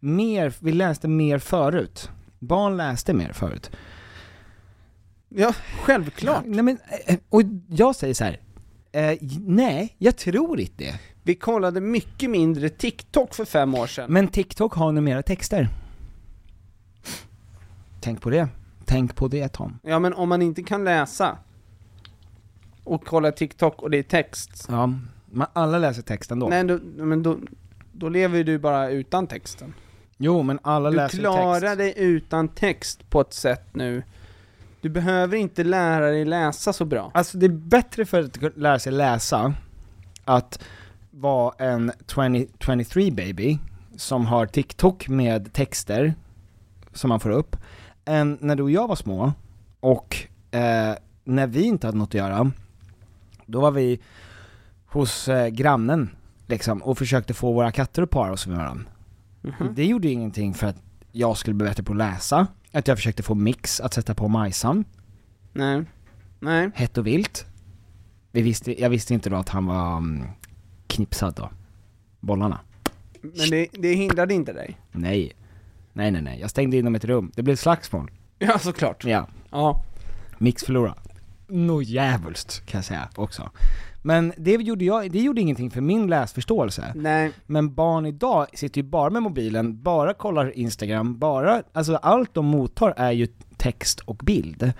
Speaker 7: mer, vi läste mer förut. Barn läste mer förut.
Speaker 6: Ja, självklart.
Speaker 7: Nej men, eh, och jag säger så här. Eh, j- nej, jag tror inte det.
Speaker 6: Vi kollade mycket mindre TikTok för fem år sedan.
Speaker 7: Men TikTok har numera texter. Tänk på det. Tänk på det Tom.
Speaker 6: Ja, men om man inte kan läsa, och kollar TikTok och det är text.
Speaker 7: Ja, men alla läser texten då.
Speaker 6: Nej, då, men då, då lever ju du bara utan texten.
Speaker 7: Jo, men alla
Speaker 6: Du
Speaker 7: läser
Speaker 6: klarar
Speaker 7: text.
Speaker 6: dig utan text på ett sätt nu. Du behöver inte lära dig läsa så bra.
Speaker 7: Alltså det är bättre för att kunna lära sig läsa, att vara en 2023 baby som har TikTok med texter som man får upp, än när du och jag var små och eh, när vi inte hade något att göra, då var vi hos eh, grannen liksom och försökte få våra katter att para oss med varandra.
Speaker 6: Mhm. Mm.
Speaker 7: Det gjorde ju ingenting för att jag skulle bli bättre på att läsa, att jag försökte få Mix att sätta på Majsan.
Speaker 6: Nej. Nej.
Speaker 7: Hett och vilt. Vi visste, jag visste inte då att han var mm, knipsad då. Bollarna.
Speaker 6: Men det, det hindrade inte dig.
Speaker 7: Nej. Nej nej nej, jag stängde in dem i ett rum. Det blev slagsmål.
Speaker 6: Ja, såklart.
Speaker 7: Ja.
Speaker 6: Ja.
Speaker 7: Mix förlorade. Nå jävulst kan jag säga också. Men det gjorde, jag, det gjorde ingenting för min läsförståelse.
Speaker 6: Nej.
Speaker 7: Men barn idag sitter ju bara med mobilen, bara kollar Instagram, bara, alltså allt de mottar är ju text och bild.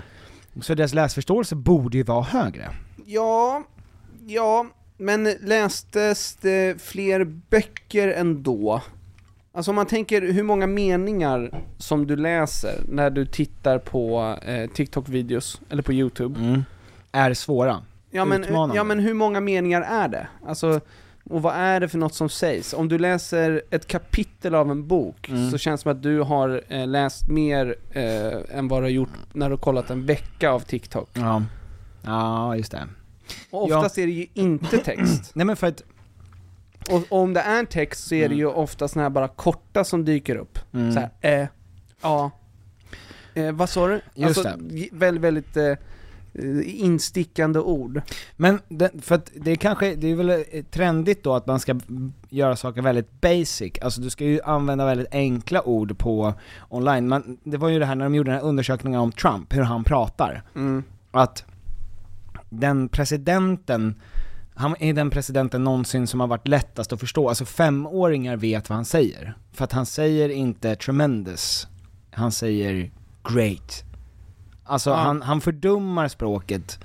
Speaker 7: Så deras läsförståelse borde ju vara högre.
Speaker 6: Ja, ja, men lästes det fler böcker ändå? Alltså om man tänker hur många meningar som du läser när du tittar på eh, TikTok-videos eller på YouTube.
Speaker 7: Är svåra.
Speaker 6: Ja men,
Speaker 7: Mm. Utmanande.
Speaker 6: ja men hur många meningar är det? Alltså, och vad är det för något som sägs? Om du läser ett kapitel av en bok
Speaker 7: Mm.
Speaker 6: så känns det som att du har eh, läst mer eh, än vad du har gjort när du har kollat en vecka av TikTok.
Speaker 7: Ja. Ja, just det.
Speaker 6: Och
Speaker 7: Ja.
Speaker 6: oftast är det ju inte text.
Speaker 7: Nej men för att,
Speaker 6: Och, och om det är en text så är det ju ofta såna här bara korta som dyker upp.
Speaker 7: Mm.
Speaker 6: Så här, eh, ja. Eh, vad sa du?
Speaker 7: Just
Speaker 6: det. Väldigt, väldigt eh, eh, instickande ord.
Speaker 7: men det, för att det är kanske, det är väl eh, trendigt då att man ska mm, göra saker väldigt basic, alltså du ska ju använda väldigt enkla ord på online, men det var ju det här när de gjorde den här undersökningen om Trump, hur han pratar. Att den presidenten, han är den presidenten någonsin som har varit lättast att förstå, alltså femåringar vet vad han säger. För att han säger inte 'tremendous', han säger 'great' Alltså han, han fördummar språket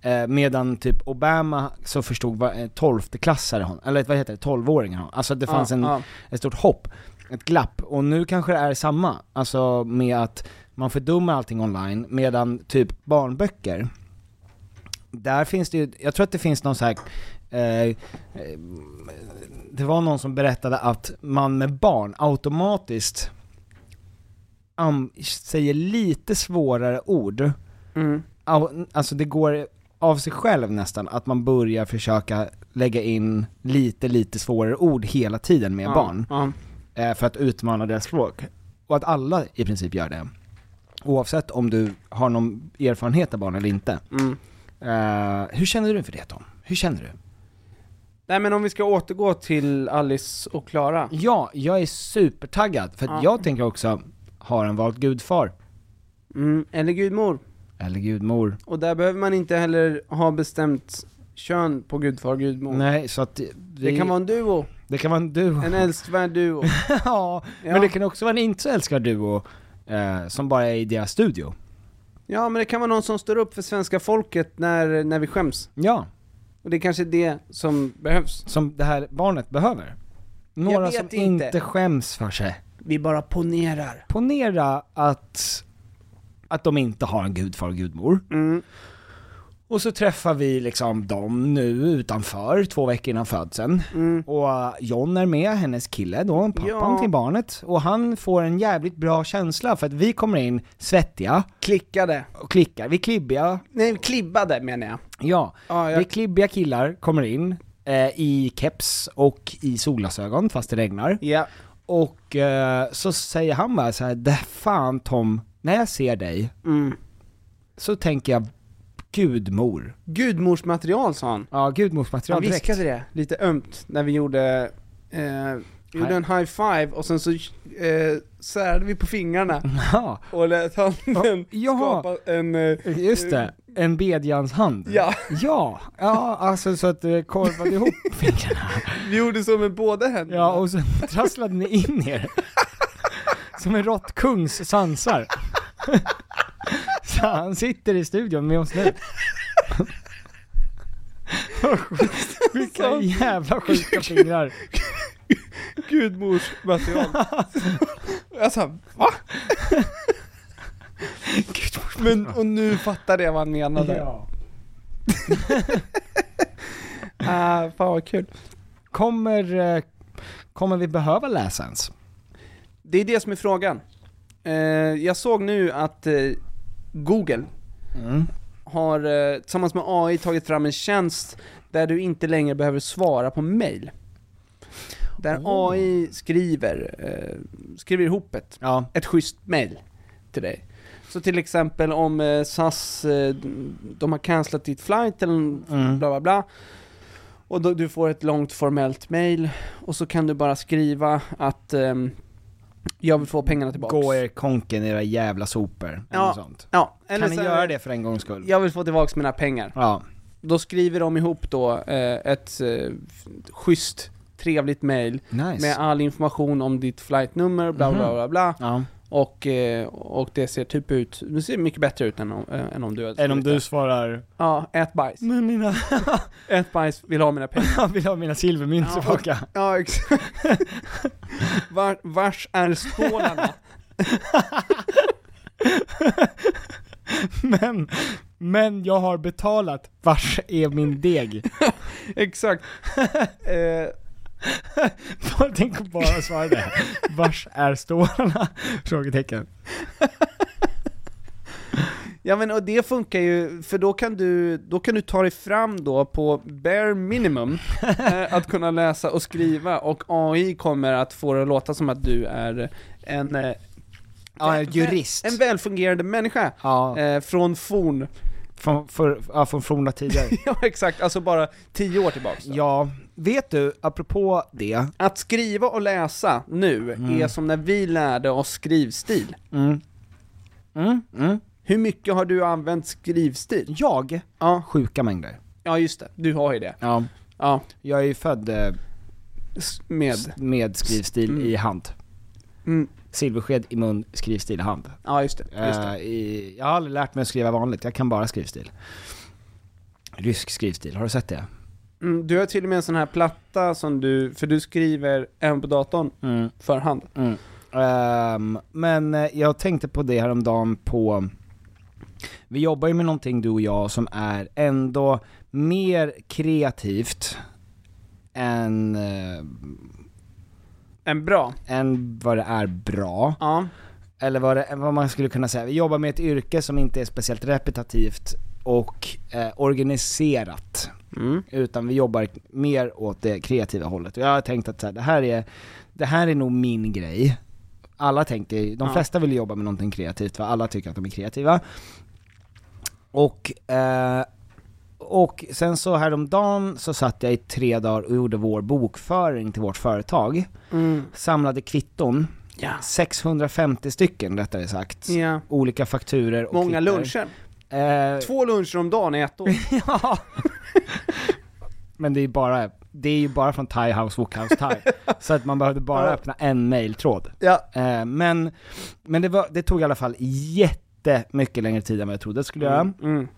Speaker 7: eh, medan typ Obama så förstod vad eh, 12-klassare hon, eller vad heter det, 12-åringar hon. Alltså det fanns
Speaker 6: Ja,
Speaker 7: en,
Speaker 6: ja.
Speaker 7: ett stort hopp, ett glapp. Och nu kanske det är samma, alltså med att man fördummar allting online medan typ barnböcker, där finns det ju, jag tror att det finns någon så här eh, det var någon som berättade att man med barn automatiskt am, säger lite svårare ord.
Speaker 6: Mm.
Speaker 7: Au- Alltså det går av sig själv nästan, att man börjar försöka lägga in lite, lite svårare ord hela tiden med
Speaker 6: Ja,
Speaker 7: barn.
Speaker 6: Ja.
Speaker 7: eh, För att utmana deras språk. Och att alla i princip gör det. Oavsett om du har någon erfarenhet av barn eller inte.
Speaker 6: Mm.
Speaker 7: Eh, hur känner du inför det Tom? Hur känner du?
Speaker 6: Nej men om vi ska återgå till Alice och Klara.
Speaker 7: Ja, jag är supertaggad, för att
Speaker 6: Ja.
Speaker 7: jag tänker också, har han valt gudfar?
Speaker 6: Mm, eller gudmor.
Speaker 7: Eller gudmor?
Speaker 6: Och där behöver man inte heller ha bestämt kön på gudfar och gudmor.
Speaker 7: Nej, så att vi,
Speaker 6: Det kan vara en duo.
Speaker 7: det kan vara en duo.
Speaker 6: En älskvärd duo.
Speaker 7: <laughs> ja,
Speaker 6: Ja.
Speaker 7: men det kan också vara en inte så älskad duo, eh, som bara är i deras studio.
Speaker 6: Ja men det kan vara någon som står upp för svenska folket när, när vi skäms.
Speaker 7: Ja,
Speaker 6: Och det är kanske är det som behövs.
Speaker 7: som det här barnet behöver. Några
Speaker 6: vet
Speaker 7: som
Speaker 6: inte.
Speaker 7: inte skäms för sig.
Speaker 6: Vi bara ponerar.
Speaker 7: Ponera att, att de inte har en gudfar och gudmor.
Speaker 6: Mm.
Speaker 7: Och så träffar vi liksom dem nu utanför, två veckor innan födseln.
Speaker 6: Mm.
Speaker 7: Och eh, John är med, hennes kille då, pappan
Speaker 6: Ja.
Speaker 7: till barnet. Och han får en jävligt bra känsla för att vi kommer in svettiga
Speaker 6: Klickade.
Speaker 7: och klickar, vi är klibbiga,
Speaker 6: Nej, klibbade menar jag.
Speaker 7: ja.
Speaker 6: Ja,
Speaker 7: Vi är
Speaker 6: jag
Speaker 7: klibbiga killar kommer in eh, i keps och i solglasögon fast det regnar.
Speaker 6: ja.
Speaker 7: Och eh, så säger han bara så här, "Det fan Tom, när jag ser dig
Speaker 6: Mm.
Speaker 7: så tänker jag gudmor.
Speaker 6: Gudmorsmaterial sa han.
Speaker 7: Ja,
Speaker 6: Han
Speaker 7: gudmorsmaterial direkt.
Speaker 6: viskade det lite ömt när vi gjorde, eh, gjorde en high five och sen så eh, särade vi på fingrarna
Speaker 7: Ja.
Speaker 6: och lät handen
Speaker 7: Ja.
Speaker 6: skapa en... Eh,
Speaker 7: Just det, en bedjans hand.
Speaker 6: ja,
Speaker 7: Ja, ja alltså så att det korvade ihop fingrarna.
Speaker 6: vi gjorde så med båda händerna.
Speaker 7: Ja, och <laughs> sen trasslade ni in er. <laughs> Som en råttkungs sansar. <laughs> <laughs> Så han sitter i studion med oss nu. Vilka jävla sjuka fingrar.
Speaker 6: Gudmors material. jag sa, Alltså, va? Men, och nu fattade jag vad han menade.
Speaker 7: Ja.
Speaker 6: <laughs> Ah, fan vad kul.
Speaker 7: Kommer, eh, kommer vi behöva läsa ens?
Speaker 6: Det är det som är frågan. Eh, jag såg nu att eh, Google har eh, tillsammans med AI tagit fram en tjänst där du inte längre behöver svara på mail. Där AI skriver, eh, skriver ihop ett, ett schysst mail till dig. Så till exempel om eh, SAS, eh, de har cancelat ditt flight eller bla bla bla. Och då, du får ett långt formellt mail och så kan du bara skriva att ehm, jag vill få pengarna tillbaka.
Speaker 7: Gå er konken era jävla sopor. Eller
Speaker 6: Ja,
Speaker 7: något sånt.
Speaker 6: Ja,
Speaker 7: Kan
Speaker 6: eller
Speaker 7: ni
Speaker 6: så här,
Speaker 7: göra det för en gångs skull?
Speaker 6: Jag vill få tillbaka mina pengar.
Speaker 7: Ja.
Speaker 6: Då skriver de ihop då eh, ett eh, schysst, trevligt mail
Speaker 7: Nice.
Speaker 6: med all information om ditt flightnummer, bla bla
Speaker 7: Mhm.
Speaker 6: bla bla.
Speaker 7: Ja.
Speaker 6: Och, eh, och det ser typ ut, det ser mycket bättre ut än om, eh, än om du hade
Speaker 7: Än om
Speaker 6: skrivit
Speaker 7: du svarar
Speaker 6: det. Ja, ät bajs.
Speaker 7: Men mina, <laughs>
Speaker 6: Ät bajs, vill ha mina pengar.
Speaker 7: jag vill ha mina silvermynt
Speaker 6: Ja.
Speaker 7: tillbaka.
Speaker 6: Ja, exakt. Var, vars är
Speaker 7: <laughs>
Speaker 6: stålarna?
Speaker 7: <laughs> Men, men jag har betalat, vars är min <laughs> deg?
Speaker 6: exakt. Eh,
Speaker 7: Bara- Tänk att bara svara det. Vars är stålarna? <laughs> Frågetecken.
Speaker 6: Ja men och det funkar ju, för då kan du, då kan du ta dig fram då på bare
Speaker 7: <laughs>
Speaker 6: minimum eh, att kunna läsa och skriva och AI kommer att få det att låta som att du är en, eh,
Speaker 7: Ja, en jurist.
Speaker 6: en välfungerande människa
Speaker 7: Ja,
Speaker 6: eh, från forn, <laughs>
Speaker 7: från, för, ja, från forna <laughs> tider.
Speaker 6: ja exakt, alltså bara tio år tillbaks då.
Speaker 7: Ja, vet du, apropå det.
Speaker 6: Att skriva och läsa nu är som när vi lärde oss skrivstil.
Speaker 7: Mm. Mm, mm.
Speaker 6: Hur mycket har du använt skrivstil?
Speaker 7: Jag?
Speaker 6: Ja.
Speaker 7: Sjuka mängder.
Speaker 6: Ja just det, du har ju det.
Speaker 7: Ja.
Speaker 6: Ja,
Speaker 7: Jag är ju född eh,
Speaker 6: s- med.
Speaker 7: s- med skrivstil
Speaker 6: Mm.
Speaker 7: i hand.
Speaker 6: Mm.
Speaker 7: Silversked i mun, skrivstil i hand.
Speaker 6: Ja just det, just det.
Speaker 7: Eh, i, jag har aldrig lärt mig att skriva vanligt, jag kan bara skrivstil. Rysk skrivstil, har du sett det?
Speaker 6: Mm, du har till och med en sån här platta som du, för du skriver även på datorn
Speaker 7: Mm.
Speaker 6: för hand.
Speaker 7: Ehm, men eh, jag tänkte på det häromdagen på, vi jobbar ju med någonting du och jag som är ändå mer kreativt än, eh,
Speaker 6: En bra.
Speaker 7: än vad det är bra.
Speaker 6: Ja.
Speaker 7: Eller vad, det, vad man skulle kunna säga, vi jobbar med ett yrke som inte är speciellt repetitivt och eh, organiserat.
Speaker 6: Mm.
Speaker 7: Utan vi jobbar mer åt det kreativa hållet. Och jag har tänkt att så här, det, här är, det här är nog min grej. Alla tänker, de
Speaker 6: Ja.
Speaker 7: flesta vill jobba med någonting kreativt för alla tycker att de är kreativa. Och, eh, och sen så häromdagen så satt jag i tre dagar och gjorde vår bokföring till vårt företag.
Speaker 6: Mm.
Speaker 7: Samlade kvitton,
Speaker 6: Ja.
Speaker 7: 650 stycken rättare sagt.
Speaker 6: ja.
Speaker 7: Olika fakturer och
Speaker 6: Många
Speaker 7: kvittor.
Speaker 6: luncher.
Speaker 7: Eh,
Speaker 6: Två luncher om dagen i
Speaker 7: <laughs>
Speaker 6: ett år.
Speaker 7: Ja. Men det är ju bara, det är ju bara från Thai House
Speaker 6: <laughs>
Speaker 7: Wookhouse Thai. Så att man behövde bara
Speaker 6: Ja.
Speaker 7: öppna en mailtråd.
Speaker 6: ja.
Speaker 7: Eh, men men det, var, det tog i alla fall jättemycket längre tid än vad jag trodde det skulle göra.
Speaker 6: Mm. Mm.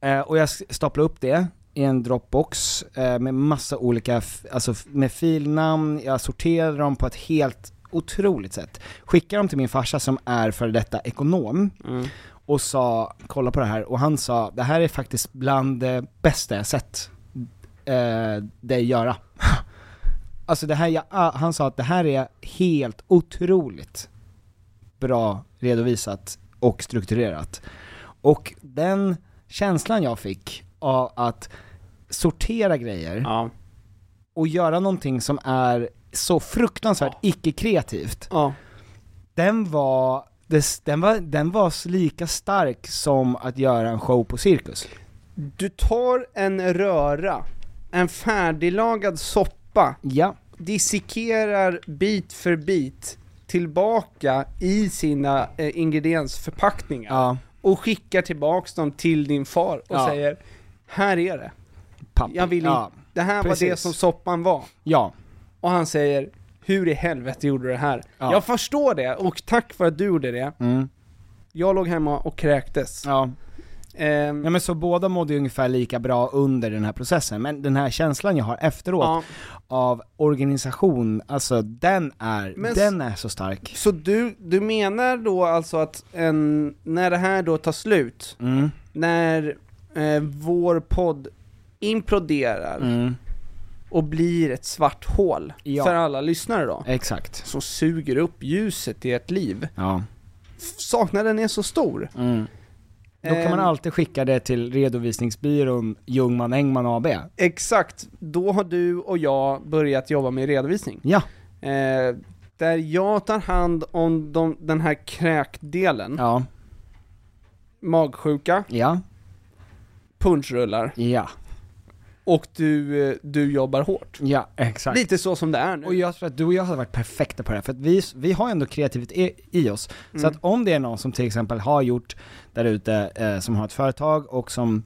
Speaker 7: Eh, och jag s- staplade upp det i en Dropbox eh, med massa olika, f- alltså f- med filnamn, jag sorterade dem på ett helt otroligt sätt. Skickade dem till min farsa som är före detta ekonom
Speaker 6: Mm.
Speaker 7: och sa, kolla på det här, och han sa, det här är faktiskt bland det bästa jag sett eh, dig göra. <laughs> alltså det här, jag, ah, han sa att det här är helt otroligt bra redovisat och strukturerat. Och den känslan jag fick av att sortera grejer
Speaker 6: Ja.
Speaker 7: och göra någonting som är så fruktansvärt icke-kreativt,
Speaker 6: Ja.
Speaker 7: den var, dess- den var, den var lika stark som att göra en show på cirkus.
Speaker 6: Du tar en röra, en färdiglagad soppa,
Speaker 7: Ja.
Speaker 6: dissekerar bit för bit tillbaka i sina eh, ingrediensförpackningar
Speaker 7: Ja.
Speaker 6: och skickar tillbaks dem till din far och
Speaker 7: Ja.
Speaker 6: säger Här är det.
Speaker 7: Papp.
Speaker 6: Jag vill
Speaker 7: ja.
Speaker 6: inte, det här var det
Speaker 7: precis.
Speaker 6: som soppan var.
Speaker 7: Ja.
Speaker 6: Och han säger, hur i helvete gjorde du det här?
Speaker 7: Ja.
Speaker 6: Jag förstår det, och tack för att du gjorde det.
Speaker 7: Mm.
Speaker 6: Jag låg hemma och kräktes. Ehm,
Speaker 7: Ja. Ja, men så båda mådde ju ungefär lika bra under den här processen, men den här känslan jag har efteråt
Speaker 6: Ja.
Speaker 7: av organisation, alltså den är,
Speaker 6: Men s-
Speaker 7: den är så stark.
Speaker 6: Så du, du menar då alltså att en, när det här då tar slut,
Speaker 7: Mm.
Speaker 6: när eh, vår podd imploderar
Speaker 7: Mm.
Speaker 6: och blir ett svart hål
Speaker 7: Ja.
Speaker 6: för alla lyssnare då,
Speaker 7: Exakt.
Speaker 6: som suger upp ljuset i ett liv.
Speaker 7: Ja.
Speaker 6: F- Saknaden är så stor.
Speaker 7: Mm. Då kan man
Speaker 6: Ehm.
Speaker 7: alltid skicka det till redovisningsbyrån Ljungman Engman AB.
Speaker 6: Exakt, då har du och jag börjat jobba med redovisning.
Speaker 7: Ja.
Speaker 6: Eh, där jag tar hand om de, den här kräkdelen,
Speaker 7: Ja.
Speaker 6: magsjuka,
Speaker 7: Ja.
Speaker 6: punchrullar
Speaker 7: Ja.
Speaker 6: och du, eh, du jobbar hårt.
Speaker 7: Ja, exakt.
Speaker 6: Lite så som det är nu.
Speaker 7: Och jag tror att du och jag hade varit perfekta på det här, för att vi, vi har ändå kreativitet i, i oss.
Speaker 6: Mm.
Speaker 7: Så att om det är någon som till exempel har gjort där ute, eh, som har ett företag och som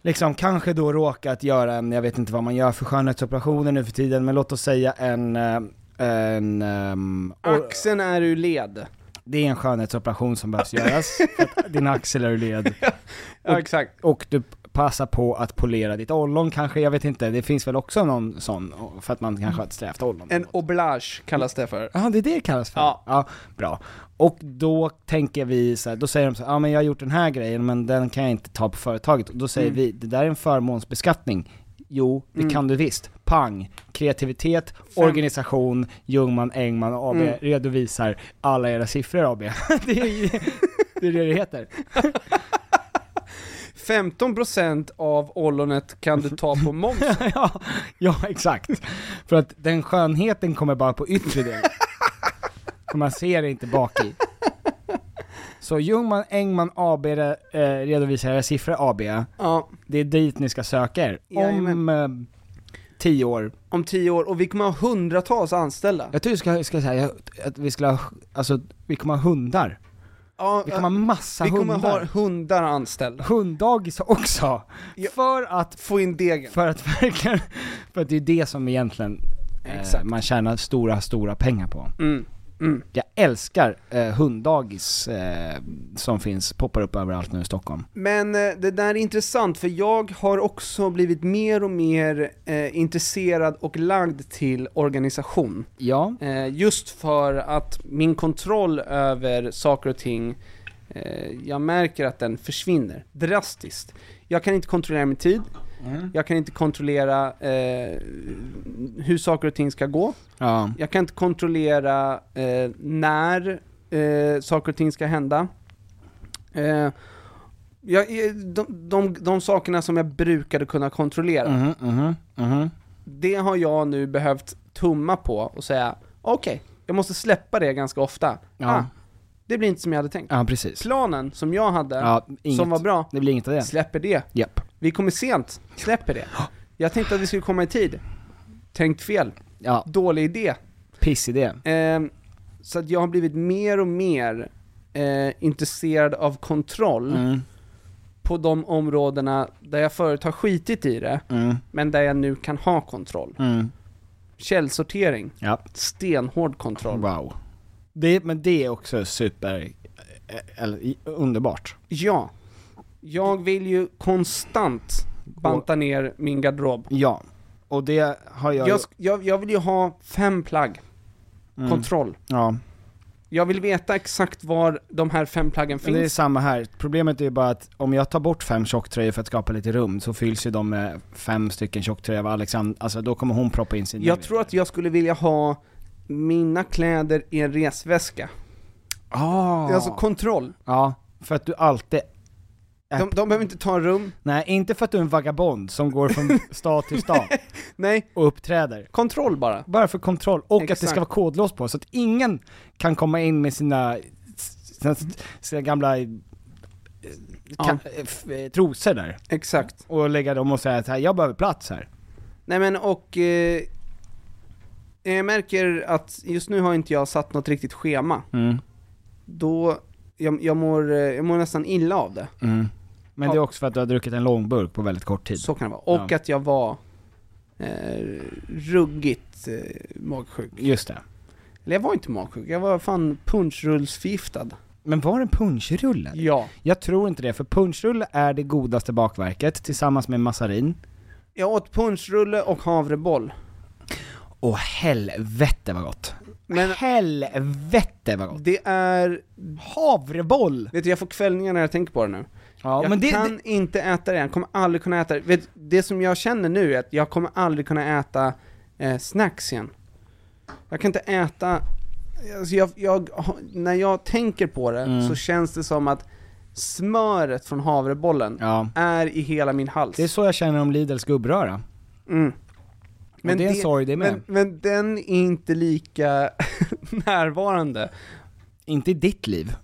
Speaker 7: liksom kanske då råkat göra en, jag vet inte vad man gör för skönhetsoperationer nu för tiden, men låt oss säga en, eh, en ehm, or-
Speaker 6: Axeln är ur led.
Speaker 7: det är en skönhetsoperation som
Speaker 6: <laughs>
Speaker 7: behövs göras, för att din axel är ur led.
Speaker 6: Ja, exakt.
Speaker 7: och du passar på att polera ditt ollon kanske, jag vet inte, det finns väl också någon sån, för att man kanske har ett strävt ollon.
Speaker 6: Mm. En oblage kallas det för.
Speaker 7: Ja, det är det det kallas för?
Speaker 6: Ja.
Speaker 7: bra. Och då tänker vi så här, då säger de så här, ja men jag har gjort den här grejen men den kan jag inte ta på företaget. Och då säger
Speaker 6: Mm.
Speaker 7: vi, det där är en förmånsbeskattning. Jo, det
Speaker 6: Mm.
Speaker 7: kan du visst. Pang! Kreativitet, organisation, Ljungman, Engman AB
Speaker 6: Mm.
Speaker 7: redovisar alla era siffror AB. <laughs> det, är, det är det det heter.
Speaker 6: 15% av ollonet kan du ta på moms.
Speaker 7: <laughs> ja, ja, exakt. För att den skönheten kommer bara på yttre delen. För man ser det inte bak i. Så Ljungman Engman AB re- eh, redovisar era siffror AB.
Speaker 6: ja,
Speaker 7: Det är dit ni ska söka er. Om
Speaker 6: Jajamän.
Speaker 7: eh, tio år.
Speaker 6: om 10 år. Och vi kommer ha hundratals anställda.
Speaker 7: Jag tror vi ska, ska säga att vi skulle ha, alltså vi kommer ha hundar.
Speaker 6: Ja,
Speaker 7: Vi kommer ha massa
Speaker 6: vi kommer
Speaker 7: hundar.
Speaker 6: ha hundar anställda.
Speaker 7: Hunddagis också.
Speaker 6: Ja.
Speaker 7: För att
Speaker 6: Få in degen.
Speaker 7: För att verkligen, för att det är det som egentligen eh,
Speaker 6: Exakt.
Speaker 7: man tjänar stora, stora pengar på.
Speaker 6: Mm. Mm.
Speaker 7: Jag älskar eh, hunddagis eh, som finns, poppar upp överallt nu i Stockholm.
Speaker 6: Men eh, det där är intressant, för jag har också blivit mer och mer eh, intresserad och lagd till organisation.
Speaker 7: Ja,
Speaker 6: Eh, just för att min kontroll över saker och ting, eh, jag märker att den försvinner drastiskt. Jag kan inte kontrollera min tid, jag kan inte kontrollera eh, hur saker och ting ska gå,
Speaker 7: ja,
Speaker 6: jag kan inte kontrollera eh, när eh, saker och ting ska hända. Eh, jag, eh, de, de, de sakerna som jag brukade kunna kontrollera,
Speaker 7: mhm, mhm, mhm.
Speaker 6: det har jag nu behövt tumma på och säga okej, jag måste släppa det ganska ofta.
Speaker 7: Ja.
Speaker 6: Ah, det blir inte som jag hade tänkt.
Speaker 7: ja precis.
Speaker 6: Planen som jag hade,
Speaker 7: Ja, inget.
Speaker 6: som var bra,
Speaker 7: Det blir inget av det.
Speaker 6: släpper det.
Speaker 7: Japp.
Speaker 6: Vi kommer sent, släpper
Speaker 7: <gasps>
Speaker 6: det. Jag tänkte att vi skulle komma i tid. Tänkt fel,
Speaker 7: Ja,
Speaker 6: dålig idé.
Speaker 7: pissidé.
Speaker 6: Ehm, så att jag har blivit mer och mer eh, intresserad av kontroll
Speaker 7: Mm,
Speaker 6: på de områdena där jag förut har skitit i det,
Speaker 7: mm,
Speaker 6: men där jag nu kan ha kontroll.
Speaker 7: mm.
Speaker 6: Källsortering,
Speaker 7: Ja,
Speaker 6: stenhård kontroll.
Speaker 7: wow. Det, men det är också super, eh, eller, i- underbart.
Speaker 6: Ja, jag vill ju konstant banta ner min garderob.
Speaker 7: Ja, och det har jag,
Speaker 6: Jag, sk- jag, jag vill ju ha fem plagg,
Speaker 7: Mm.
Speaker 6: kontroll.
Speaker 7: Ja.
Speaker 6: Jag vill veta exakt var de här fem plaggen
Speaker 7: Men det är
Speaker 6: finns.
Speaker 7: samma här, problemet är ju bara att om jag tar bort fem tjocktröjor för att skapa lite rum så fylls ju de med fem stycken tjocktröjor av Alexander, alltså då kommer hon proppa in sin
Speaker 6: Jag tror att jag skulle vilja ha mina kläder i en resväska.
Speaker 7: ah.
Speaker 6: Alltså kontroll.
Speaker 7: Ja, för att du alltid,
Speaker 6: De, de behöver inte ta rum.
Speaker 7: nej inte för att du är en vagabond som
Speaker 6: <laughs>
Speaker 7: går från stad till stad
Speaker 6: Nej,
Speaker 7: och uppträder.
Speaker 6: kontroll bara.
Speaker 7: Bara för kontroll, och att det
Speaker 6: Exakt.
Speaker 7: ska vara kodlås på så att ingen kan komma in med sina, sina, sina gamla eh, ka, eh, trosor där
Speaker 6: Exakt.
Speaker 7: och lägga dem och säga att här, jag behöver plats här.
Speaker 6: Nej men och... Eh, jag märker att just nu har inte jag satt något riktigt schema.
Speaker 7: Mm.
Speaker 6: Då... Jag, jag, mår, eh, jag mår nästan illa av det.
Speaker 7: Mm. Men det är
Speaker 6: Ja.
Speaker 7: också för att du har druckit en lång burk på väldigt kort tid.
Speaker 6: Så kan det vara. Och
Speaker 7: Ja.
Speaker 6: att jag var eh, ruggigt eh, magsjuk.
Speaker 7: Just det.
Speaker 6: Eller jag var inte magsjuk, jag var fan punchrullsförgiftad.
Speaker 7: Men var den punschrulle?
Speaker 6: Ja.
Speaker 7: Jag tror inte det, för punschrulle är det godaste bakverket tillsammans med massarin.
Speaker 6: Jag åt punschrulle och havreboll.
Speaker 7: Åh helvete vad gott! Men helvete vad gott!
Speaker 6: Det är...
Speaker 7: Havreboll!
Speaker 6: Vet du, jag får kvällningar när jag tänker på det nu.
Speaker 7: Ja,
Speaker 6: jag
Speaker 7: men det,
Speaker 6: kan
Speaker 7: det,
Speaker 6: inte äta det, jag kommer aldrig kunna äta det. Vet, du, det som jag känner nu är att jag kommer aldrig kunna äta eh, snacks igen. Jag kan inte äta... Alltså jag, jag, när jag tänker på det
Speaker 7: Mm.
Speaker 6: så känns det som att smöret från havrebollen
Speaker 7: ja.
Speaker 6: är i hela min hals.
Speaker 7: det är så jag känner om Lidls gubbröra.
Speaker 6: Mm.
Speaker 7: Men det är en sorg det med.
Speaker 6: men, men den är inte lika <laughs> närvarande.
Speaker 7: Inte i ditt liv.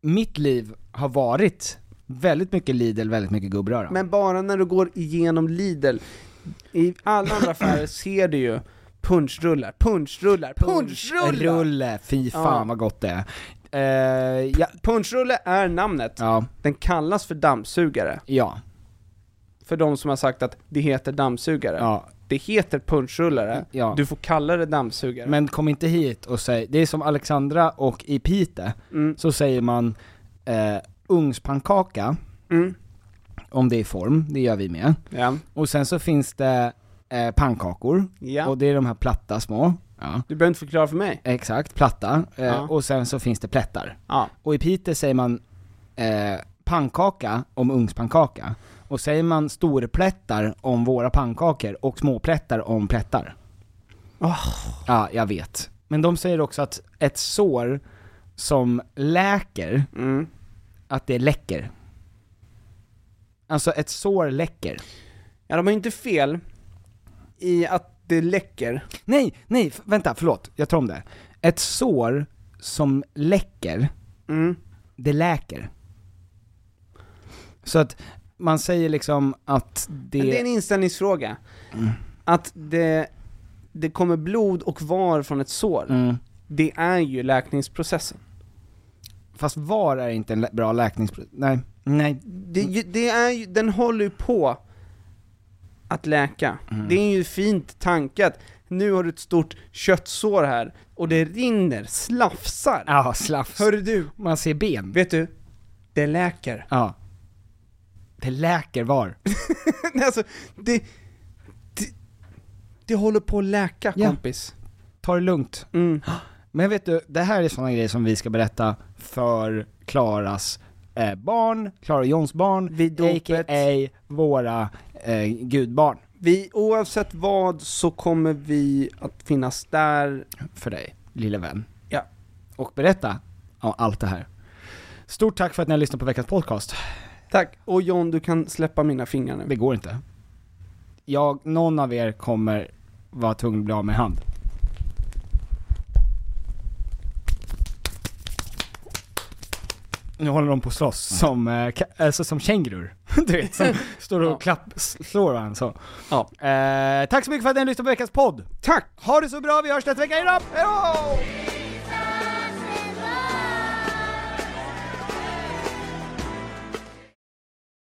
Speaker 7: Mitt liv har varit väldigt mycket Lidl, väldigt mycket gubbröra.
Speaker 6: Men bara när du går igenom Lidl, i alla andra
Speaker 7: <clears throat>
Speaker 6: affärer ser du ju punchrullar, punchrullar, punchrullar!
Speaker 7: Rulle, fy fan
Speaker 6: Ja.
Speaker 7: vad gott det är. Eh, ja,
Speaker 6: Punchrulle är namnet.
Speaker 7: ja,
Speaker 6: Den kallas för dammsugare.
Speaker 7: ja,
Speaker 6: För de som har sagt att det heter dammsugare.
Speaker 7: ja.
Speaker 6: Det heter punchrullare.
Speaker 7: Ja.
Speaker 6: Du får kalla det dammsugare.
Speaker 7: Men kom inte hit och säg, det är som Alexandra och i Pite
Speaker 6: Mm.
Speaker 7: så säger man eh, ugnspannkaka,
Speaker 6: Mm.
Speaker 7: om det är i form, det gör vi med.
Speaker 6: Ja.
Speaker 7: Och sen så finns det eh, pannkakor,
Speaker 6: ja.
Speaker 7: och det är de här platta små. Ja.
Speaker 6: Du behöver inte förklara för mig.
Speaker 7: Exakt, platta. Eh,
Speaker 6: Ja.
Speaker 7: Och sen så finns det plättar.
Speaker 6: Ja.
Speaker 7: Och i Piteå säger man eh, pannkaka om ugnspannkaka. Och säger man storplättar om våra pannkakor och småplättar om plättar. Ja, jag vet. Men de säger också att ett sår som läker,
Speaker 6: Mm.
Speaker 7: att det läcker. Alltså ett sår läcker.
Speaker 6: Ja, de har ju inte fel i att det läcker.
Speaker 7: Nej, nej, f- vänta, förlåt. Jag tar om det. Ett sår som läcker,
Speaker 6: Mm.
Speaker 7: det läker. Så att man säger liksom att det...
Speaker 6: Men det är en inställningsfråga. Att det, det kommer blod och var från ett sår,
Speaker 7: mm.
Speaker 6: det är ju läkningsprocessen.
Speaker 7: Fast var är inte en lä- bra läkningsprodukt? Nej, nej.
Speaker 6: Det, är ju-
Speaker 7: Mm.
Speaker 6: det är ju, den håller ju på att läka.
Speaker 7: Mm.
Speaker 6: Det är ju fint tankat. Nu har du ett stort köttsår här, och det rinner, slafsar.
Speaker 7: Mm. Ja, slafs.
Speaker 6: Hörru du,
Speaker 7: Man ser ben.
Speaker 6: vet du? Det läker.
Speaker 7: Ja. Det läker var.
Speaker 6: Nej, <laughs> alltså, det, det, det håller på att läka
Speaker 7: Ja.
Speaker 6: kompis.
Speaker 7: Ta det lugnt.
Speaker 6: Mm.
Speaker 7: Men vet du, det här är sådana grejer som vi ska berätta för Klaras eh, barn, Klara och Johns barn,
Speaker 6: Vid dopet.
Speaker 7: a.k.a. våra eh, gudbarn
Speaker 6: Vi, oavsett vad så kommer vi att finnas där
Speaker 7: för dig, lille vän.
Speaker 6: Ja.
Speaker 7: Och berätta om allt det här. Stort tack för att ni har lyssnat på veckans podcast.
Speaker 6: Tack. Och John, du kan släppa mina fingrar nu.
Speaker 7: Det går inte. Jag, någon av er kommer vara tvungen att bli av med hand. Nu håller de på att slåss <laughs> som, eh, ka- alltså som kängurur. <laughs> Du vet, som står och
Speaker 6: Ja.
Speaker 7: klapp, slår varandra så.
Speaker 6: Ja.
Speaker 7: Eh, tack så mycket för att ni har lyssnat på veckans podd! Tack! Ha det så bra, vi hörs nästa vecka, hejdå! hejdå!